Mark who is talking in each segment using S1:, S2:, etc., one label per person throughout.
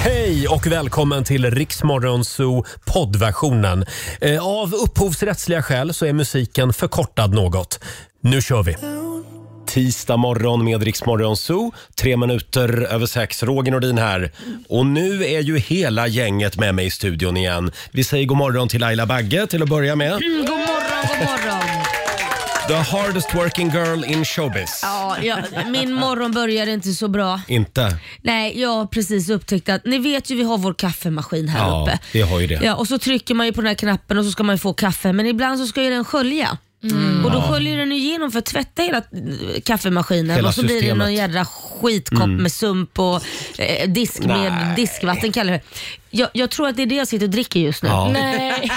S1: Hej och välkommen till Riksmorgonzoo poddversionen. Eh, Av upphovsrättsliga skäl så är musiken förkortad något. Nu kör vi! Tisdag morgon med Riksmorgonzoo. Tre minuter över sex. Roger Nordin här. Och nu är ju hela gänget med mig i studion igen. Vi säger god morgon till Laila Bagge till att börja med.
S2: God morgon, god morgon.
S1: The hardest working girl in showbiz.
S2: Ja, jag, min morgon började inte så bra.
S1: Inte?
S2: Nej, jag har precis upptäckt att ni vet ju vi har vår kaffemaskin här
S1: Ja,
S2: uppe.
S1: vi har ju det.
S2: Ja, och så trycker man ju på den här knappen och så ska man ju få kaffe men ibland så ska ju den skölja. Och då
S1: Mm. Ja.
S2: sköljer den ju igenom för att tvätta hela eh, kaffemaskinen
S1: Hela
S2: och så blir det
S1: systemet. Mm.
S2: någon jädra skitkopp med sump och eh, disk
S1: Nej.
S2: med diskvatten kallar jag det. Jag, jag tror att det är det jag sitter och dricker just nu.
S1: Ja.
S2: Nej.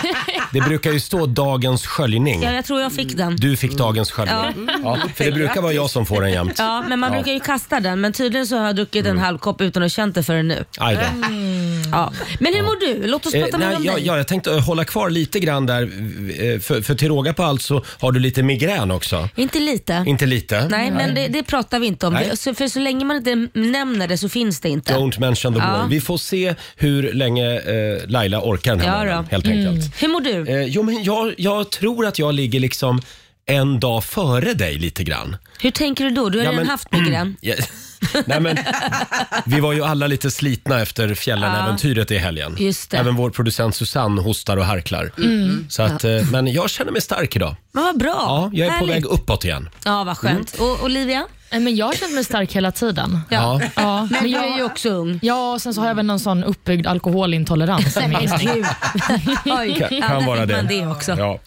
S1: Det brukar ju stå dagens sköljning.
S2: Ja, jag tror jag fick den.
S1: Du fick dagens sköljning. Ja. för det brukar vara jag som får den jämt.
S2: Ja, men man
S1: Ja. Mm.
S2: brukar ju kasta den. Men tydligen så har jag druckit en halv kopp utan att känt det förrän nu.
S1: Aj då.
S2: Ja. Mm. Men hur mår du? Låt oss
S1: Eh,
S2: prata mer
S1: nej,
S2: Eh, om
S1: ja,
S2: dig.
S1: ja, jag tänkte eh, hålla kvar lite grann där. eh, För, för till råga på allt så har du lite migrän också.
S2: Inte lite.
S1: Inte lite?
S2: Nej, men det, det pratar vi inte om.
S1: Nej.
S2: Det, så, för så länge man inte nämner det så finns det inte.
S1: Don't mention the
S2: Ja.
S1: war. Vi får se hur länge eh, Laila orkar den här
S2: Ja,
S1: morgonen,
S2: då. Mm.
S1: helt enkelt.
S2: Hur mår du?
S1: Eh, jo, men jag, jag tror att jag ligger liksom en dag före dig lite grann.
S2: Hur tänker du då? Du har
S1: Ja,
S2: redan
S1: men-
S2: haft migrän.
S1: Ja, Nej, men, vi var ju alla lite slitna efter fjällenäventyret i helgen.
S2: Just det. Mm.
S1: Även vår producent Susanne hostar och harklar. Så att, eh, Men jag känner mig stark idag.
S2: Men vad bra.
S1: Ja, jag är på
S2: Härligt.
S1: väg uppåt igen.
S2: Ja, vad skönt. Och Olivia?
S3: Nej, men jag har känt mig stark hela tiden.
S1: Ja.
S3: Ja,
S2: Men
S3: men
S2: du är ju
S3: jag,
S2: också ung.
S3: ja och sen så har jag väl någon sån uppbyggd alkoholintolerans. i mig.
S2: Gud. Oj,
S1: Kan,
S2: ja,
S1: kan
S2: där
S1: vara
S2: fick
S1: det.
S2: man det också.
S1: Ja.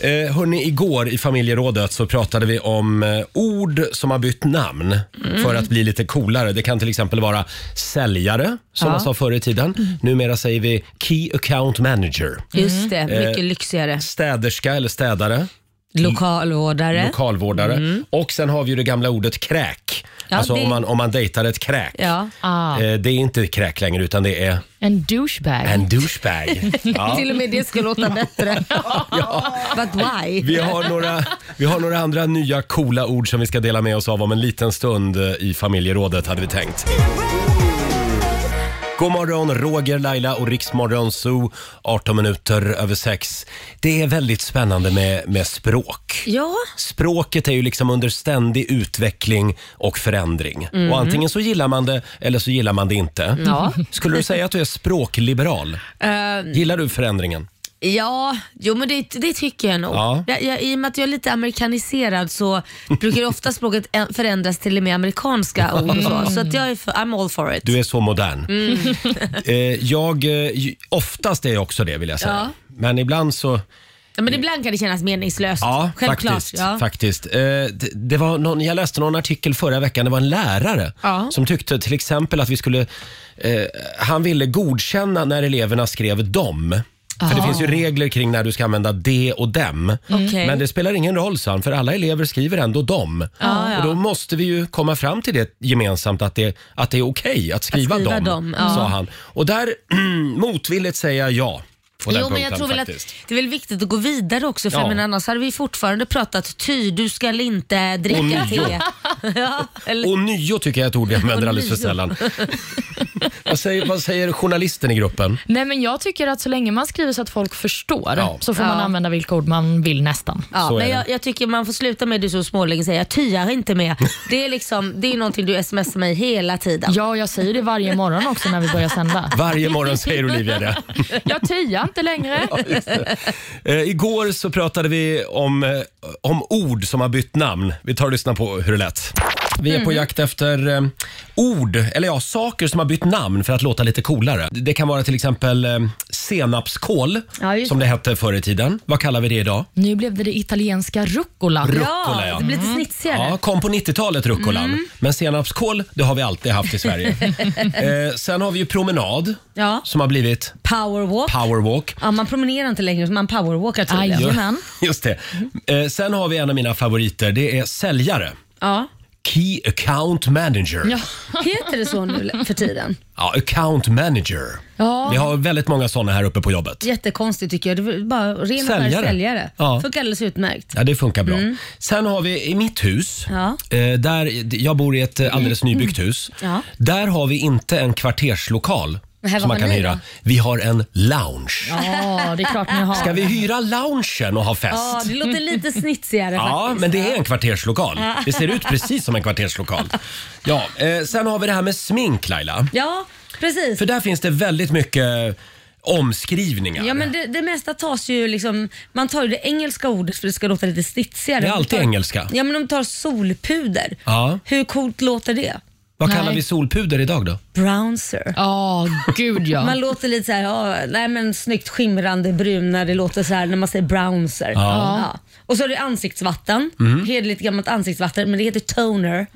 S1: Eh, hörni, igår i familjerådet så pratade vi om eh, ord som har bytt namn
S2: Mm.
S1: för att bli lite coolare. Det kan till exempel vara säljare, som
S2: Ja. Mm.
S1: man sa förr i tiden. Numera säger vi Key Account Manager.
S2: Just det, mycket
S1: Eh,
S2: lyxigare.
S1: Städerska eller städare.
S2: Lokalvårdare.
S1: lokalvårdare. Och sen har vi ju det gamla ordet kräk.
S2: Mm. Ja,
S1: alltså
S2: det-
S1: om, man, om man dejtar ett kräk.
S2: ja.
S3: Ah,
S1: Eh, Det är inte kräk längre utan det är
S3: en douchebag.
S1: en douchebag. Ja.
S2: Till och med det ska låta bättre. But why?
S1: Vi har, några, vi har några andra nya coola ord som vi ska dela med oss av om en liten stund eh, i familjerådet hade vi tänkt. God morgon, Roger, Laila och Riksmorgon Zoo. 18 minuter över 6. Det är väldigt spännande med, med språk.
S2: Ja,
S1: Språket är ju liksom under ständig utveckling och förändring. Och antingen så gillar man det eller så gillar man det inte.
S2: Mm. Ja.
S1: Skulle du säga att du är språkliberal?
S2: eh,
S1: Gillar du förändringen?
S2: ja, jo men det, det tycker jag nog.
S1: Ja.
S2: Jag, jag, I och med att jag är lite amerikaniserad så brukar ofta språket ä- förändras till det mer amerikanska ord. och Så, så att jag är för, I'm all for it.
S1: Du är så modern. Eh, jag, eh, ju- oftast är jag också det vill jag säga.
S2: Ja.
S1: Men ibland så...
S2: Ja, men ibland kan det kännas meningslöst.
S1: Ja,
S2: Självklart.
S1: faktiskt.
S2: ja.
S1: faktiskt. Eh, det, det var någon, jag läste någon artikel förra veckan. Det var en lärare
S2: Ja.
S1: som tyckte till exempel att vi skulle... Eh, han ville godkänna när eleverna skrev dom. För det finns ju regler kring när du ska använda de och dem.
S2: Mm. Okej.
S1: Men det spelar ingen roll, sa han, för alla elever skriver ändå dom.
S2: Ja, ja.
S1: Och då måste vi ju komma fram till det gemensamt, att det, att det är okej att skriva,
S2: skriva
S1: dom,
S2: dom, ja.
S1: sa han. Och där motvilligt säger jag ja. På den
S2: Jo, men jag
S1: punkten,
S2: tror väl att
S1: faktiskt.
S2: det är väl viktigt att gå vidare också för
S1: Ja.
S2: jag menar, annars hade vi fortfarande pratat ty, du ska inte
S1: Och
S2: dricka
S1: nio.
S2: te. ja, eller,
S1: Och nio tycker jag är ett ord vi använder alldeles för sällan.
S2: Ånyo.
S1: vad, säger, vad säger journalisten i gruppen?
S3: Nej, men jag tycker att så länge man skriver så att folk förstår
S1: Ja.
S3: så får man
S2: Ja.
S3: använda vilka ord man vill nästan.
S2: Ja,
S1: Så är
S2: men
S1: det.
S2: jag, jag tycker man får sluta med du så smålänge säga jag tyar inte med. Det är liksom, det är någonting du smsar mig hela tiden.
S3: Ja, jag säger det varje morgon också när vi börjar sända.
S1: Varje morgon säger Olivia det.
S3: Jag tyar inte längre.
S1: Eh, igår så pratade vi om, eh, om ord som har bytt namn. Vi tar och lyssnar på hur det lät. Vi
S2: Mm.
S1: är på jakt efter eh, ord, eller ja, saker som har bytt namn för att låta lite coolare. Det kan vara till exempel eh, senapskål,
S2: Ja, just
S1: som det hette förr i tiden. Vad kallar vi det idag?
S3: Nu blev det det italienska rucola.
S1: Rucola, ja.
S2: det blir lite snitsigare.
S1: Mm. Ja, kom på 90-talet rucolan. Men senapskål, det har vi alltid haft i Sverige. eh, sen har vi ju promenad
S2: Ja.
S1: som har blivit
S2: Powerwalk.
S1: powerwalk.
S2: ja, man promenerar inte längre, så man powerwalkar tydligen.
S3: Aj.
S2: Jajamän.
S1: Just det. Eh, sen har vi en av mina favoriter, det är säljare.
S2: Ja.
S1: Key account manager. Ja,
S2: Heter det så nu för tiden?
S1: account manager.
S3: Ja.
S1: Vi har väldigt många sådana här uppe på jobbet.
S2: Jättekonstigt tycker jag. Det var bara ren säljare.
S1: Säljare.
S2: säljare.
S1: Ja.
S2: Funkar alldeles utmärkt.
S1: Ja, det funkar bra. Sen har vi i mitt hus,
S2: Mm. Ja. Mm.
S1: eh, där, jag bor i ett eh, alldeles nybyggt hus.
S2: Ja.
S1: Där har vi inte en kvarterslokal
S2: Men här,
S1: som
S2: vad
S1: man kan
S2: har ni
S1: hyra.
S2: då?
S1: Vi har en lounge.
S3: Ja, det är klart ni har.
S1: Ska vi hyra loungen och ha fest?
S2: Ja, det låter lite snitsigare
S1: Ja,
S2: faktiskt.
S1: men det är en kvarterslokal. Det ser ut precis som en kvarterslokal. Ja, eh, sen har vi det här med smink Laila.
S2: Ja, precis.
S1: För där finns det väldigt mycket omskrivningar.
S2: Ja, men det, det mesta tas ju liksom, man tar ju det engelska ordet för det ska låta lite stitsigare.
S1: Det är alltid
S2: De tar,
S1: engelska.
S2: Ja, men de tar solpuder.
S1: Ja.
S2: Hur coolt låter det?
S1: Vad
S3: Nej.
S1: kallar vi solpuder idag då?
S2: Brownser.
S3: Ja, gud ja.
S2: Man låter lite så här, ja, nej men snyggt skimrande brun när det låter så här när man säger brownser. Ja. Och så är det ansiktsvatten,
S1: Mm.
S2: hederligt gammalt ansiktsvatten, men det heter toner.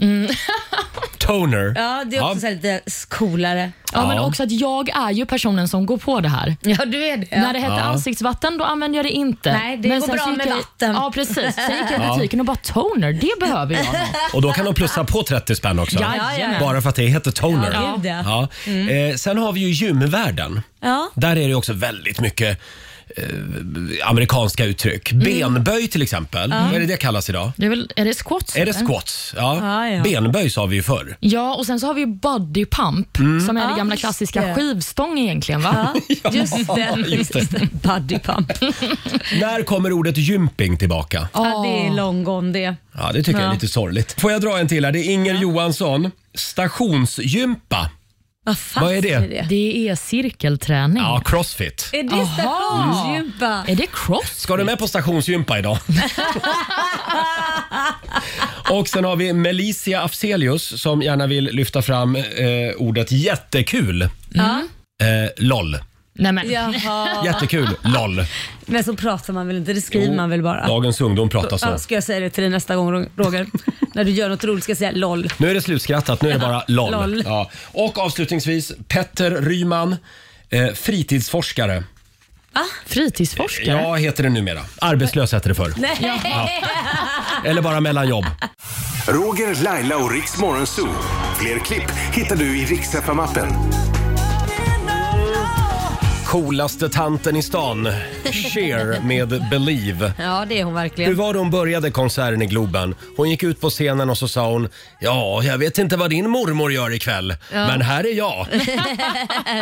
S1: Toner.
S2: Ja, det är också så här lite coolare.
S3: Ja, men
S1: Ja.
S3: också att jag är ju personen som går på det här.
S2: Ja, du är det. Ja.
S3: När det hette ansiktsvatten, då använde jag det inte.
S2: Nej, det går
S3: sen
S2: bra
S3: så gick
S2: med
S3: jag,
S2: vatten.
S3: Ja, precis. Sen gick jag i butiken och bara toner, det behöver jag nog.
S1: Och då kan de plussa på 30 spänn också.
S3: Jajamän.
S1: Bara för att det heter toner.
S2: Ja, gud, ja. Mm.
S1: Eh, sen har vi ju gymvärlden.
S2: Ja.
S1: Där är det också väldigt mycket eh, amerikanska uttryck.
S2: Mm.
S1: Benböj till exempel. Vad är det det kallas idag?
S3: Det är, väl, är det squats?
S1: Är det
S3: eller?
S1: squats? Ja.
S2: Ja, ja.
S1: Benböj sa vi ju förr.
S3: Ja, och sen så har vi ju body pump
S1: Mm.
S3: som är det
S2: Ja,
S3: gamla
S2: Ah, just
S3: klassiska
S2: det.
S3: skivstång egentligen. Va?
S2: Ja, just det.
S1: just det.
S2: Body pump.
S1: När kommer ordet gymping tillbaka?
S2: Ja, det är long gone det.
S1: Ja, det tycker jag är lite sorgligt. Får jag dra en till här? Det är Inger Johansson. Stationsgympa.
S2: Vad fan
S1: Vad är det?
S3: Det är cirkelträning.
S1: Ja,
S2: Mm.
S1: crossfit.
S2: Är det
S3: Aha.
S2: stationsgympa?
S3: Är det cross?
S1: Ska du med på stationsgympa idag? Och sen har vi Melicia Afzelius som gärna vill lyfta fram eh, ordet jättekul.
S2: Ja.
S1: Eh, LOL.
S3: Nej, men.
S2: Jaha.
S1: Jättekul. LOL.
S2: Men så pratar man väl inte, det skriver man väl bara?
S1: Dagens ungdom pratar så.
S2: Ja, ska jag säga det till dig nästa gång Roger? När du gör något roligt ska jag säga LOL.
S1: Nu är det slutskrattat, nu är det bara LOL.
S2: LOL.
S1: Ja. Och avslutningsvis, Petter Ryman, eh, fritidsforskare.
S3: Fritidsforskare?
S1: Ja, heter det numera. Arbetslös hette det förr.
S2: Nej.
S1: Eller bara mellanjobb.
S4: Roger, Laila och Riks Morgonzoo. Fler klipp hittar du i Riks FM-appen.
S1: Coolaste tanten i stan, Cher med Believe.
S2: Ja, det är hon
S1: Hur
S2: verkligen.
S1: var det hon började konserten i Globen? Hon gick ut på scenen och så sa hon “Ja, jag vet inte vad din mormor gör ikväll, men här är jag”.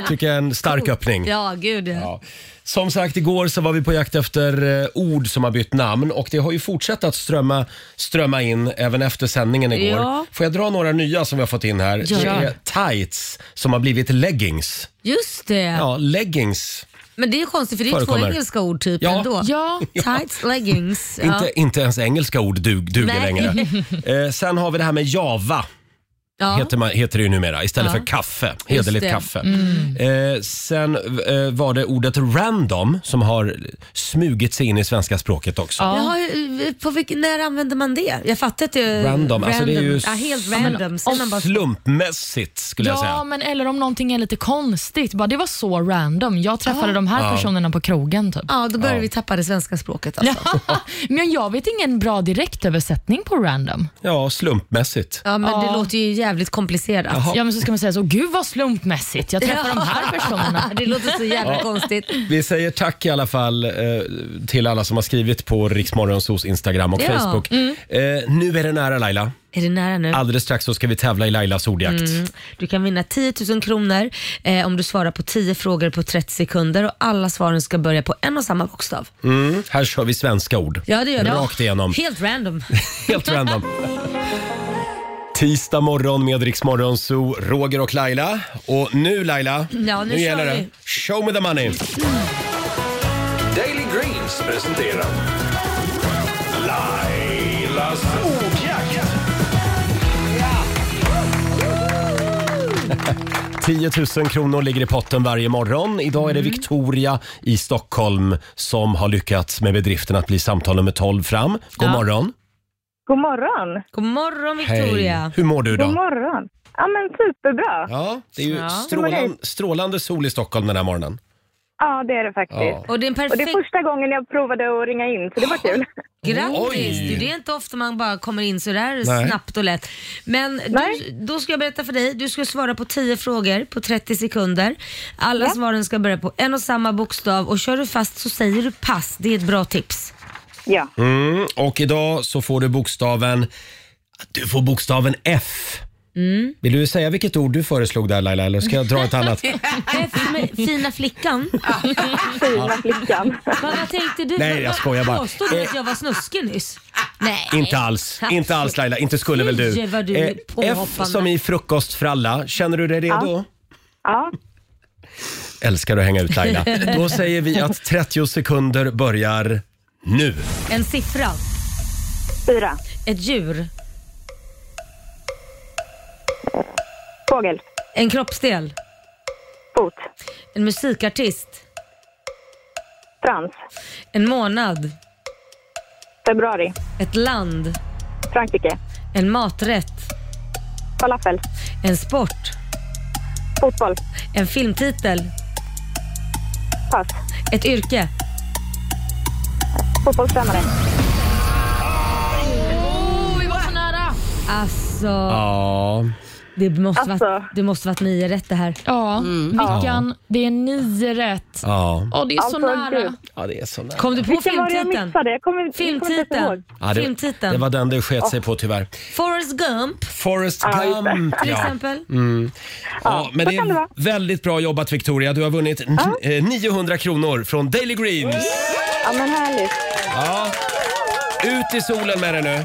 S1: Tycker jag är en stark öppning.
S2: Ja, gud ja.
S1: Ja. Som sagt, igår så var vi på jakt efter eh, ord som har bytt namn och det har ju fortsatt att strömma, strömma in även efter sändningen igår.
S2: Ja.
S1: Får jag dra några nya som vi har fått in här?
S3: Gör
S1: Det
S3: det.
S1: är tights som har blivit leggings.
S2: Just det.
S1: Ja, leggings.
S2: Men det är ju konstigt för det är ju två
S1: Förekommer.
S2: engelska ord typ
S1: Ja.
S2: ändå.
S3: Ja.
S2: Tights, leggings. Ja.
S1: Inte, inte ens engelska ord dug, duger
S2: Nej.
S1: längre. Eh, sen har vi det här med java.
S2: Ja.
S1: Heter, man, heter det ju numera istället
S2: Ja.
S1: för kaffe. Hederligt
S2: det. Mm.
S1: kaffe. Eh, sen eh, var det ordet random som har smugit sig in i svenska språket också.
S2: Jaha, hur- på vilken, när använder man det? Jag fattar att det är
S1: Random, alltså det är ju
S2: Ja, helt
S1: s-
S2: random. Säger man bara
S1: Slumpmässigt skulle jag
S3: Ja,
S1: säga.
S3: men eller om någonting är lite konstigt. Bara, det var så random. Jag träffade de här personerna på krogen. Typ.
S2: Ja, då börjar vi tappa det svenska språket alltså. Ja,
S3: men jag vet ingen bra direktöversättning på random.
S1: Ja, slumpmässigt.
S2: men det låter ju jävligt komplicerat.
S3: Ja, men så ska man säga så, gud vad slumpmässigt. Jag träffade de här personerna.
S2: Det låter så jävla konstigt.
S1: Vi säger tack i alla fall eh, till alla som har skrivit på Riksmorgonsos Instagram och
S2: Ja. Mm.
S1: Facebook. Eh, nu är det nära Laila.
S2: Är det nära nu?
S1: Alldeles strax så ska vi tävla i Lailas ordjakt.
S2: Du kan vinna 10 000 kronor eh, om du svarar på 10 frågor på 30 sekunder och alla svaren ska börja på en och samma bokstav.
S1: Mm, här kör vi svenska ord.
S2: Ja, det gör det.
S1: Rakt igenom.
S2: Helt random.
S1: Helt random. Tisdag morgon med Rix Morgon Zoo, Roger och Laila. Och nu Laila,
S2: nu kör
S1: gäller det.
S2: vi.
S1: Show me the money.
S4: Daily Greens presenterar Lailas ordjakt.
S1: 10 000 kronor ligger i potten varje morgon. Idag är det
S2: Mm.
S1: Victoria i Stockholm som har lyckats med bedriften att bli samtal nummer 12 fram. God morgon.
S5: God morgon.
S2: God morgon Victoria.
S1: Hur mår du
S5: God
S1: idag?
S5: morgon. Ja, men superbra. Ja,
S1: Ja, det är ju
S2: Ja.
S1: strålan, strålande sol i Stockholm den här morgonen.
S5: det är det faktiskt.
S1: Ja.
S2: Och det är en
S5: Och det
S2: perfekt...
S5: är första gången jag provade att ringa in, så det var kul.
S2: Grattis!
S1: Oj.
S2: Du, Det är inte ofta man bara kommer in så där
S1: Nej.
S2: snabbt och lätt. Men du,
S5: Nej.
S2: då ska jag berätta för dig. Du ska svara på 10 frågor på 30 sekunder. Alla svaren ska börja på en och samma bokstav och kör du fast så säger du pass. Det är ett bra tips.
S5: Ja.
S1: Mm, och idag så får du bokstaven... Du får bokstaven F. Vill du säga vilket ord du föreslog där Laila, eller ska jag dra ett annat?
S2: Fina flickan?
S5: Fina flickan.
S2: Vad, vad tänkte du?
S1: Nej, jag skojar bara. Eh.
S2: Påstod du att jag var snuskig nyss? Nej.
S1: Inte alls. Inte alls Laila. Inte skulle väl du.
S2: Fy, vad du är
S1: Eh, F
S2: påhoppande.
S1: som i frukost för alla. Känner du dig redo?
S5: Ja,
S1: Älskar att hänga ut Laila. Då säger vi att 30 sekunder börjar nu.
S2: En siffra.
S5: fyra.
S2: Ett djur.
S5: Fågel.
S2: En kroppsdel.
S5: Fot.
S2: En musikartist.
S5: Frans.
S2: En månad.
S5: Februari.
S2: Ett land.
S5: Frankrike.
S2: En maträtt.
S5: Falafel.
S2: En sport.
S5: Fotboll.
S2: En filmtitel.
S5: Pass.
S2: Ett yrke.
S5: Fotbollstränare.
S3: Åh, vi var så nära!
S2: Alltså,
S1: Ja,
S2: det måste
S5: Alltså.
S2: varit, det måste varit nio rätt det här.
S3: Mm. Ja, Vickan, det är nio rätt.
S1: ja.
S3: Åh, det är så
S5: Alltså,
S3: nära.
S5: gud.
S1: ja det är så nära.
S2: Kom du på
S5: Vilken var det jag
S2: filmtiteln?
S5: missade? Jag kommer, jag kommer inte ens ihåg.
S2: Filmtiteln.
S1: Ja, det,
S2: Filmtiteln.
S1: det var den du sket sig på tyvärr.
S2: Forrest Gump
S1: Forrest
S5: Ja, just det.
S1: Gump,
S2: till
S1: ja. Mm.
S2: exempel.
S1: ja. Men
S5: så
S1: det
S5: kan
S1: är
S5: det vara.
S1: väldigt bra jobbat Victoria. Du har vunnit n- eh, 900 kronor från Daily Greens.
S5: Ja, men härligt.
S1: Ja. Ut i solen med dig nu.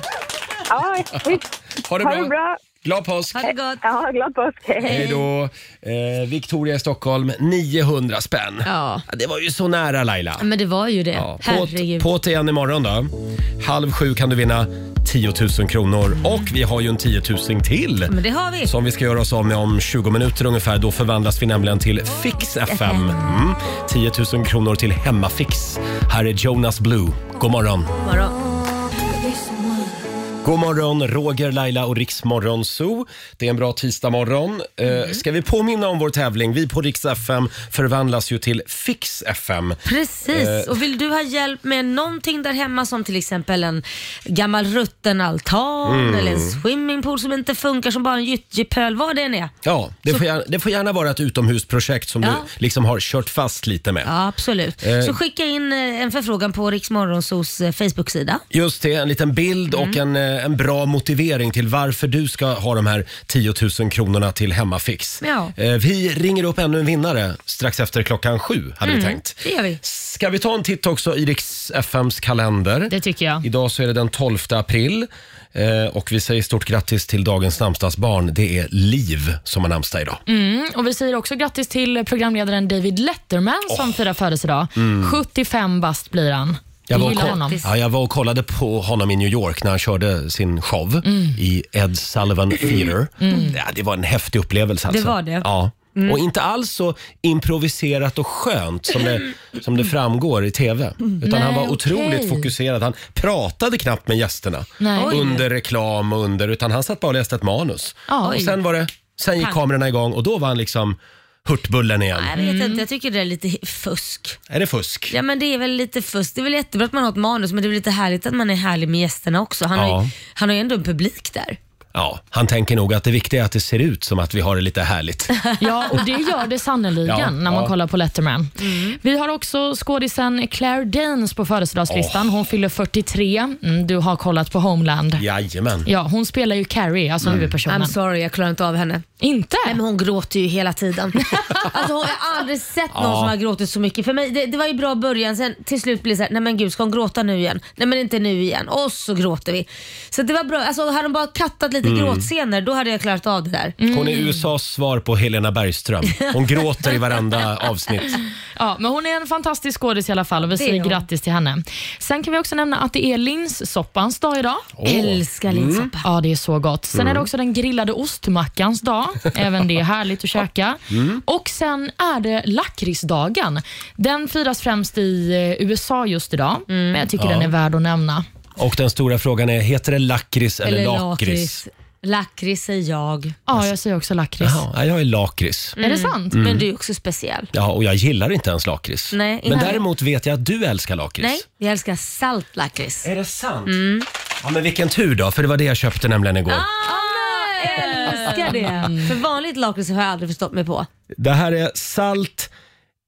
S5: Ja, visst.
S1: Ha det
S5: Ha det
S1: bra.
S5: bra.
S1: Glad påsk.
S2: Ha det gott.
S5: Ja, glad påsk. Hej.
S1: Hej då. Eh, Victoria i Stockholm, 900 spänn.
S3: Ja.
S1: Det var ju så nära Laila.
S2: Ja, men det var ju det.
S1: Ja, på,
S2: Herregud.
S1: på till igen imorgon då. Halv sju kan du vinna 10 000 kronor och vi har ju en 10 000 till.
S2: Men det har vi.
S1: Som vi ska göra oss av med om 20 minuter ungefär. Då förvandlas vi nämligen till Fix FM. Mm. 10 000 kronor till Hemmafix. Här är Jonas Blue. God morgon.
S2: Morgon.
S1: God morgon, Roger, Laila och Riksmorgon Zoo. Det är en bra tisdagmorgon. Mm. Ska vi påminna om vår tävling? Vi på Rix FM förvandlas ju till Fix FM. Eh.
S2: Precis, och vill du ha hjälp med någonting där hemma som till exempel en gammal rutten altan
S1: Mm.
S2: eller en swimmingpool som inte funkar som bara en gyttjepöl, vad det än är.
S1: Ja, det får, gärna, det får gärna vara ett utomhusprojekt som
S2: Ja.
S1: du liksom har kört fast lite med.
S2: Ja, absolut. Så skicka in eh, en förfrågan på Riksmorgonsos Facebook-sida.
S1: Just det, en liten bild och en,
S2: Mm.
S1: eh, en bra motivering till varför du ska ha de här 10 000 kronorna till Hemmafix.
S2: Ja.
S1: Eh, Vi ringer upp ännu en vinnare strax efter klockan sju, hade vi tänkt.
S2: Mm, Det gör vi.
S1: Ska vi ta en titt också i Rix FMs kalender?
S3: Det tycker jag.
S1: Idag så är det den 12 april eh, och vi säger stort grattis till dagens namnsdagsbarn. Det är Liv som har namnsdag idag.
S3: Mm, och Vi säger också grattis till programledaren David Letterman som firar födelsedag. 75 bast blir han.
S1: Jag, var och
S3: gillar
S1: koll-
S3: honom.
S1: ja, jag var och kollade på honom i New York när han körde sin show
S3: Mm.
S1: i Ed Sullivan Theater. Ja, det var en häftig upplevelse. Alltså.
S2: Det var det.
S1: Ja.
S3: Mm.
S1: Och inte alls så improviserat och skönt som det, som det framgår i TV. Utan han var
S3: Nej,
S1: otroligt
S3: okej.
S1: fokuserad. Han pratade knappt med gästerna
S3: Nej. Oj.
S1: under reklam och under, utan han satt bara och läste ett manus.
S3: Ja,
S1: och
S3: oj.
S1: sen, var det, sen gick
S2: Pang.
S1: kamerorna igång och då var han liksom Hurtbullen igen.
S2: Jag vet inte, jag tycker det är lite he- fusk.
S1: Är det fusk?
S2: Ja men det är väl lite fusk. Det är väl jättebra att man har ett manus men det är väl lite härligt att man är härlig med gästerna också. Han, har,
S1: Ja.
S2: ju, han har ju ändå en publik där.
S1: Ja, han tänker nog att det viktiga är att det ser ut som att vi har det lite härligt.
S3: Ja, och det gör det sannoliken
S1: Ja,
S3: när man
S1: ja.
S3: kollar på Letterman. Vi har också skådisen Claire Danes på födelsedagslistan. Hon fyller 43. Mm, du har kollat på Homeland. Ja.
S1: Jajamän.
S3: hon spelar ju Carrie, alltså huvudpersonen.
S2: I'm sorry, jag klarar inte av henne.
S3: Inte?
S2: Nej, men hon gråter ju hela tiden. alltså, hon, jag har aldrig sett någon som har gråtit så mycket. För mig, det, det var ju bra början, sen till slut blir det så här, nej men gud ska hon gråta nu igen? Nej men inte nu igen. Och så gråter vi. Så det var bra, alltså hade de bara kattat lite gråtscener då hade jag klarat av det där.
S1: Hon är USAs svar på Helena Bergström. Hon gråter i varenda avsnitt.
S3: Ja, men hon är en fantastisk skådis i alla fall och vi
S2: Det är
S3: säger
S2: hon.
S3: grattis till henne. Sen kan vi också nämna att det är linssoppans dag idag.
S2: Älskar
S1: Mm.
S2: linssoppa.
S3: Ja, det är så gott. Sen är det också den grillade ostmackans dag. Även det är härligt att käka. Och sen är det lakritsdagen. Den firas främst i eh, USA just idag,
S2: Mm.
S3: men jag tycker den är värd att nämna.
S1: Och den stora frågan är, heter det lakrits eller, lakrits?
S2: Lakrits säger jag.
S3: Ja, jag säger också lakrits.
S1: Ja, nej, jag är lakrits.
S2: Mm.
S3: Är det sant?
S1: Mm.
S2: Men du är också speciell.
S1: Ja, och jag gillar inte ens lakrits.
S2: Nej,
S1: Men
S2: inte.
S1: däremot vet jag att du älskar lakrits.
S2: Nej, jag älskar salt lakrits.
S1: Är det sant? Ja, men vilken tur då, för det var det jag köpte nämligen igår. Mm.
S2: Älskar det. För vanligt lakrits har jag aldrig förstått mig på.
S1: Det här är salt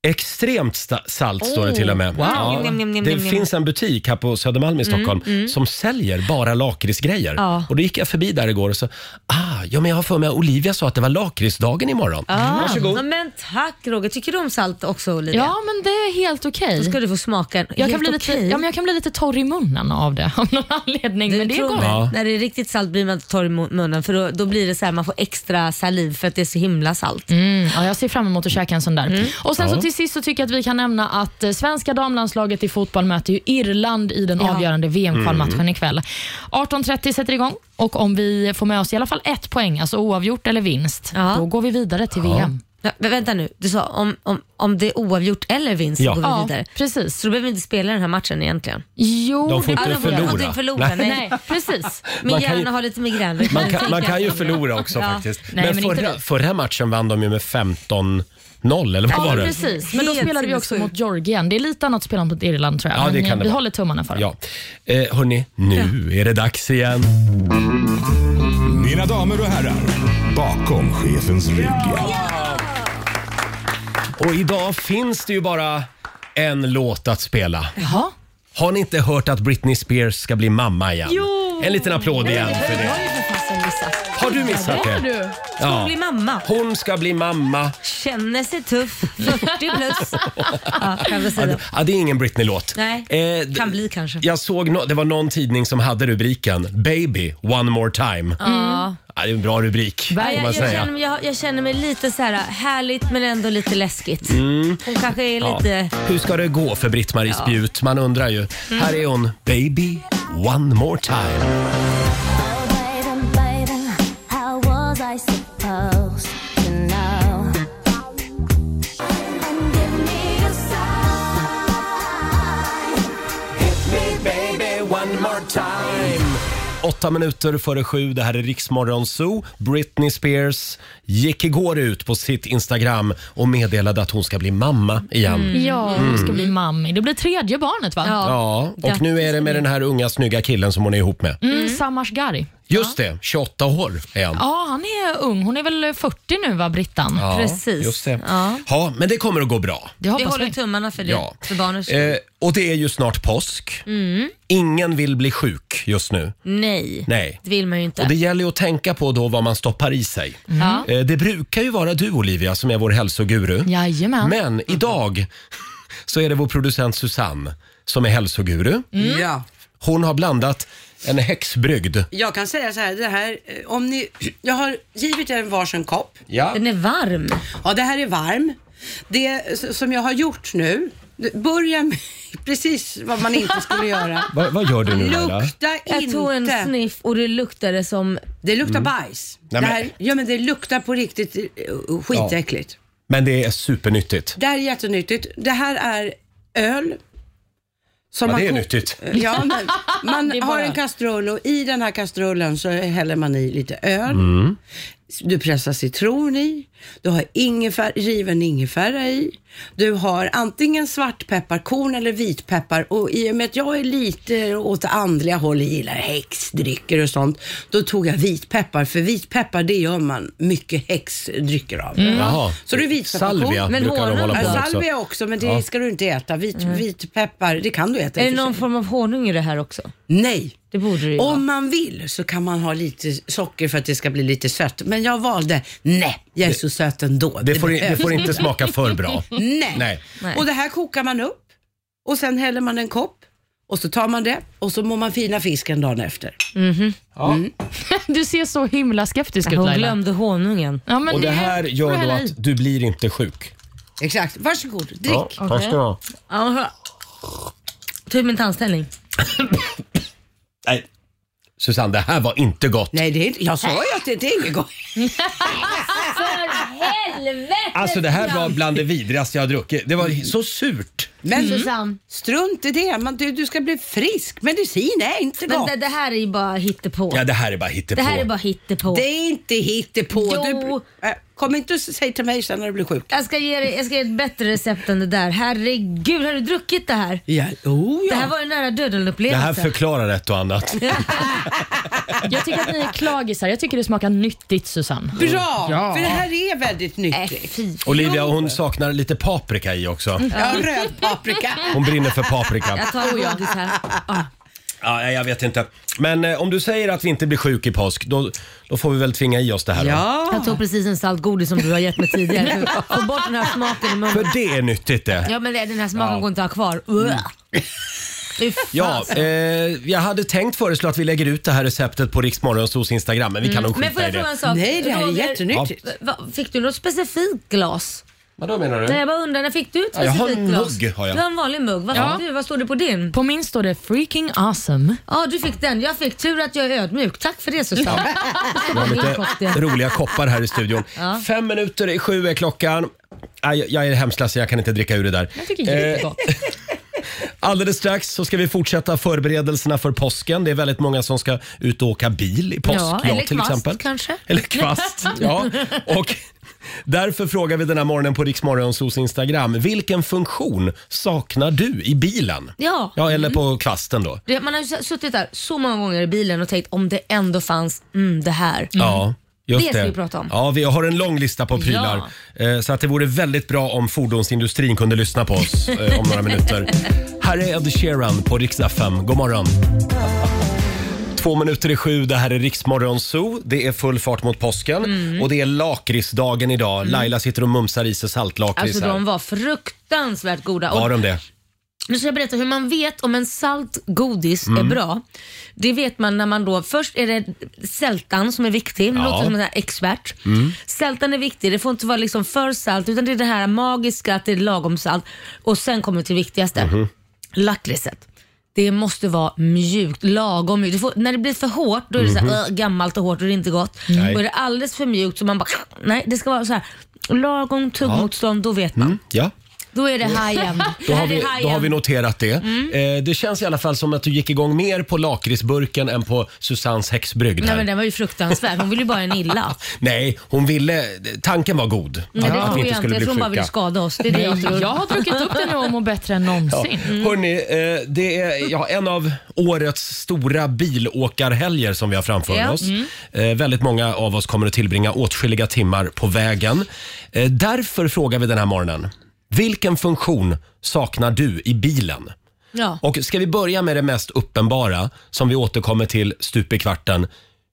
S1: Extremt sta- salt står det till och med.
S2: Oh, Wow. Njam, njam, njam,
S1: Det
S2: njam, njam.
S1: finns en butik här på Södermalm i Stockholm som säljer bara lakritsgrejer.
S2: Mm, Ja.
S1: Och då gick jag förbi där igår och så, ah, ja men jag har för mig att Olivia sa att det var lakritsdagen imorgon.
S2: Ah.
S1: Varsågod.
S2: Ja, men tack Roger. Tycker du om salt också Olivia?
S3: Ja, men det är helt okej.
S2: Då ska du få smaka.
S3: Jag, kan
S2: Helt
S3: bli lite-
S2: okej.
S3: ja, men jag kan bli lite torr i munnen av det av någon anledning, men det är
S2: tror
S3: gott.
S2: mig.
S1: Ja.
S2: När det är riktigt salt blir man inte torr i mu- munnen för då, då blir det så här, man får extra saliv för att det är så himla salt.
S3: Mm, ja, jag ser fram emot att käka en sån där. Och sen
S1: Mm. Ja.
S3: så till sist så tycker jag att vi kan nämna att eh, svenska damlandslaget i fotboll möter ju Irland i den
S2: Ja. Mm.
S3: avgörande VM-kvalmatchen ikväll. 18.30 sätter igång och om vi får med oss i alla fall ett poäng, alltså oavgjort eller vinst,
S2: Ja.
S3: då går vi vidare till VM.
S2: Ja, men vänta nu, du sa om, om, om det är oavgjort eller vinst
S1: Ja.
S2: så går vi
S3: Ja,
S2: vidare.
S3: precis.
S2: Så då behöver vi inte spela den här matchen egentligen.
S3: Jo,
S1: De får
S3: det-
S1: inte
S2: Ja, de får-
S1: förlora.
S2: de får inte förlora. Nej.
S3: Nej, precis.
S2: Min
S1: Man kan
S2: hjärna
S1: ju-
S2: har lite migrän. Vi
S1: Man kan,
S2: tänka
S1: man kan ju
S2: på det.
S1: förlora också
S2: Ja.
S1: faktiskt.
S3: Nej,
S1: men
S3: men inte
S1: förra,
S3: det.
S1: förra matchen vann de ju med 15-0 eller vad
S3: Ja,
S1: var det?
S3: precis. Men då
S2: Helt
S3: spelade vi också
S2: sinnessjukt.
S3: mot Georgien. Det är lite annat spel mot Irland tror jag.
S1: Ja, det
S3: men
S1: kan
S3: eh,
S1: det
S3: vi
S1: vara.
S3: håller tummarna för det.
S1: Ja. Eh, hörni, nu är det dags igen.
S6: Mina damer och herrar, bakom chefens rygg.
S1: Och idag finns det ju bara en låt att spela.
S3: Jaha.
S1: Har ni inte hört att Britney Spears ska bli mamma igen?
S2: Jo.
S1: En liten applåd igen för
S2: Jag
S1: det.
S2: har ju för fasen missat.
S1: Har du missat det?
S2: Hon
S1: Ja.
S2: blir mamma.
S1: Hon ska bli mamma.
S2: Känner sig tuff. 40 plus. Ja, kan vi
S1: Ja,
S2: säga
S1: det-
S2: det.
S1: Ja, det är ingen Britney-låt.
S2: Nej,
S1: Eh,
S2: kan bli kanske.
S1: Jag såg nå- det var någon tidning som hade rubriken “Baby, one more time”.
S2: Ja.
S1: Ja, det är en bra rubrik.
S2: Ja,
S1: får
S2: jag,
S1: man
S2: jag,
S1: säga.
S2: känner, mig- jag, jag känner mig lite så här härligt men ändå lite läskigt.
S1: Mm.
S2: Hon kanske är lite...
S1: Hur ska det gå för Britt-Marie Spjut? Man undrar ju. Här
S2: Mm.
S1: är hon, Baby One More Time. Åtta minuter före sju, det här är Riksmorgon Zoo. Britney Spears gick igår ut på sitt Instagram och meddelade att hon ska bli mamma igen.
S3: Ja, hon Mm.
S1: Mm.
S3: ska bli mammi. Det blir tredje barnet va?
S2: Ja.
S1: Ja, och nu är det med den här unga snygga killen som hon är ihop med.
S3: Mm, Samar Gari.
S1: Just det, 28 år är han.
S3: Ja, han är ung. Hon är väl 40 nu va, Brittan?
S1: Ja,
S2: precis.
S1: Just det. Ja.
S2: Ja.
S1: men det kommer att gå bra.
S2: Vi
S3: Det hoppas
S2: håller
S3: vi.
S2: tummarna för det.
S1: Ja.
S2: För barnens skull.
S1: Eh, och det är ju snart påsk. Ingen vill bli sjuk just nu.
S2: Nej.
S1: Nej.
S2: det vill man ju inte.
S1: Och det gäller ju att tänka på då vad man stoppar i sig.
S2: Ja.
S1: Eh, Det brukar ju vara du Olivia som är vår hälsoguru.
S3: Jajamän.
S1: Men idag så är det vår producent Susanne som är hälsoguru.
S5: Mm.
S7: Ja.
S1: Hon har blandat en häxbrygd.
S7: Jag kan säga så här, det här eh, om ni, jag har givit er en varsin kopp.
S1: Ja.
S2: Den är varm.
S7: Ja, det här är varm. Det s- som jag har gjort nu, det- börja med precis vad man inte skulle göra.
S1: Va, vad gör du nu Laila?
S7: Lukta
S2: Jag tog en
S7: inte.
S2: sniff och det luktade som...
S7: Det luktar bajs.
S1: Mm. Nej,
S7: det,
S1: men-
S7: här, ja, men det luktar på riktigt eh, eh, skitäckligt.
S1: Men det är supernyttigt.
S7: Det här är jättenyttigt. Det här är öl. Som
S1: Ja, det är
S7: ko-
S1: nyttigt.
S7: Ja, men man
S3: Det är bara-
S7: har en kastrull och i den här kastrullen så häller man i lite öl.
S1: Mm.
S7: Du pressar citron i. Du har ingefär, riven ingefära i. Du har antingen svartpepparkorn eller vitpeppar. Och i och med att jag är lite åt det andliga hållet, gillar häxdrycker och sånt. Då tog jag vitpeppar, för vitpeppar det gör man mycket häxdrycker av.
S1: Mm. Jaha.
S7: Mm. Så det är vitpepparkorn.
S1: Salvia
S2: Men
S1: brukar de
S2: honung
S1: hålla
S7: Ja,
S1: på med också.
S7: salvia också, men det
S1: Ja.
S7: ska du inte äta. Vit, Vitpeppar, det kan du äta i
S2: Mm. Är
S7: och
S2: det
S7: för
S2: någon
S7: sig.
S2: form av honung i det här också?
S7: Nej.
S2: Det borde det ju vara.
S7: Om man vill så kan man ha lite socker för att det ska bli lite sött. Men jag valde, nej, jag är så söt ändå.
S1: Det får, det
S7: behövs
S1: får inte smaka för bra.
S7: Nej.
S1: Nej.
S2: Nej.
S7: Och det här kokar man upp och sen häller man en kopp och så tar man det och så må man fina fisken dagen efter.
S3: Du ser så himla skeptisk ut
S2: Hon
S3: Laila.
S2: glömde honungen.
S3: Ja, men
S1: Och det
S3: är-
S1: här gör
S3: får
S1: då
S3: hälla i.
S1: att du blir inte sjuk.
S7: Exakt, varsågod, drick.
S1: tack ska du ha.
S2: Aha. Typ min tandställning.
S1: Nej. Susanne, det här var inte gott.
S7: Nej, det är, inte- jag sa ju att det, det är inget gott.
S2: För helvete!
S1: Alltså det här var bland det vidrigaste jag har druckit. Det var så surt.
S7: Men
S2: Susanne.
S7: strunt i det. Man, du, du ska bli frisk. Medicin är inte
S2: Men
S7: gott.
S2: det, det här är ju bara hittepå.
S1: Ja, det här är bara hittepå.
S2: det här är bara hittepå.
S7: Det är inte hittepå.
S2: Jo.
S7: Du, äh, kom inte och säg till mig sen när du blir sjuk.
S2: Jag ska, ge dig, jag ska ge dig ett bättre recept än det där. Herregud, har du druckit det här?
S7: Ja, oh, ja.
S2: Det här var en nära
S1: Det här
S2: döden-upplevelse.
S1: förklarar ett och annat.
S3: Jag tycker att ni är klagisar. Jag tycker det smakar nyttigt, Susanne.
S7: Bra,
S3: Ja.
S7: för det här är väldigt
S2: Nej,
S7: nyttigt.
S2: Äh, fy.
S1: Olivia, hon saknar lite paprika i också.
S7: Ja, rödpaprika.
S1: Hon brinner för paprika.
S2: Jag tar en godis här. Ja.
S1: Ja, nej, jag vet inte. Men eh, om du säger att vi inte blir sjuk i påsk, då, då får vi väl tvinga i oss det här då.
S7: Ja,
S2: Jag tog precis en saltgodis som du har gett mig tidigare. Få bort den här smaken i munnen.
S1: För det är nyttigt det.
S2: Ja men det- den här smaken
S1: Ja. Mm.
S2: går inte att ha kvar. Ugh. Fy fan.
S1: Ja, eh, jag hade tänkt föreslå att vi lägger ut det här receptet på Riksmorgonsos Instagram, men vi kan nog
S2: Mm. Men får
S1: skita i
S2: jag fråga
S1: det.
S2: en sak?
S7: nej det här är
S2: Roger,
S7: jättenyttigt.
S2: v- vad- Fick du något specifikt glas?
S1: Vadå menar
S2: Nej, jag bara undrar, när fick du ett
S1: Ja, jag har
S2: specifikt
S1: en
S2: glas?
S1: mugg, har jag.
S2: Du har en vanlig mugg. Vad,
S3: Ja.
S2: fick du? Vad står det på din?
S3: På min står det “freaking awesome”.
S2: Ja, du fick den. Jag fick tur att jag är ödmjuk. Tack för det Susanne.
S1: Vi har
S2: Din kopp, det.
S1: lite Eh, roliga koppar här i studion. Fem minuter i sju är klockan. Nej, jag är hemskt ledsen, jag kan inte dricka ur det där. Eh,
S3: Jag tycker det är jättegott.
S1: Alldeles strax så ska vi fortsätta förberedelserna för påsken. Det är väldigt många som ska ut och åka bil i påsk.
S2: Ja,
S1: jag
S2: eller
S1: till
S2: kvast,
S1: exempel.
S2: kanske.
S1: Eller kvast, ja. Och därför frågar vi den här morgonen på Riksmorgonsos Instagram. Vilken funktion saknar du i bilen?
S2: Ja.
S1: Ja, eller
S2: Mm.
S1: på kvasten då.
S2: Du vet, Man har ju suttit där så många gånger i bilen och tänkt om det ändå fanns mm, det här.
S1: Ja. Just
S2: Det ska vi prata om.
S1: Ja, vi har en lång lista på prylar. Eh, Så att det vore väldigt bra om fordonsindustrin kunde lyssna på oss eh, om några minuter. Här är Ed Sheeran på Rix FM. God morgon! Två minuter i sju, det här är Riksmorgon Zoo. Det är full fart mot påsken
S2: Mm.
S1: och det är lakritsdagen idag. Laila sitter och mumsar i sig saltlakrits
S2: Alltså
S1: här.
S2: de var fruktansvärt goda.
S1: Var
S2: Och
S1: de det?
S2: Nu ska jag berätta hur man vet om en salt godis
S1: Mm.
S2: är bra. Det vet man när man då, först är det sältan som är viktig,
S1: Ja. Mm.
S2: ja. låter som en sån här expert. Sältan är viktig, det får inte vara liksom för salt utan det är det här magiska att det är lagom salt. Och sen kommer vi till det viktigaste,
S1: Mhm.
S2: lakritset. Det måste vara mjukt, lagom mjukt. Du får, när det blir för hårt, då är det så här, "Åh, gammalt och hårt och det är inte gott.
S1: Mhm. Nej.
S2: Och är det alldeles för mjukt så man bara, nej det ska vara så här lagom tuggmotstånd, då vet man.
S1: Mm, Ja.
S2: Då är det high-end.
S1: Då
S2: Det här
S1: har,
S2: är Mm.
S1: vi, då
S2: high-end.
S1: har vi noterat det. Eh, det känns i alla fall som att du gick igång mer på lakritsburken än på Susannes häxbrygd. här.
S2: Nej men den var ju fruktansvärd. Hon ville ju bara en illa.
S1: Nej, hon ville... Tanken var god.
S2: Nej,
S1: att,
S2: Mm. det
S1: att
S2: tror
S1: vi inte
S2: jag inte.
S1: skulle
S2: Jag
S1: bli
S2: tror hon bara
S1: sjuka.
S2: vill skada oss. Det är det jag tror.
S3: Jag har druckit upp den och mår bättre än
S1: Ja.
S3: någonsin.
S2: Mm.
S1: Hörrni, eh, det är ja, en av årets stora bilåkarhelger som vi har framför
S2: Ja. Mm.
S1: oss. Eh, väldigt många av oss kommer att tillbringa åtskilliga timmar på vägen. Eh, därför frågar vi den här morgonen. Vilken funktion saknar du i bilen?
S2: Ja.
S1: Och ska vi börja med det mest uppenbara som vi återkommer till stup i kvarten.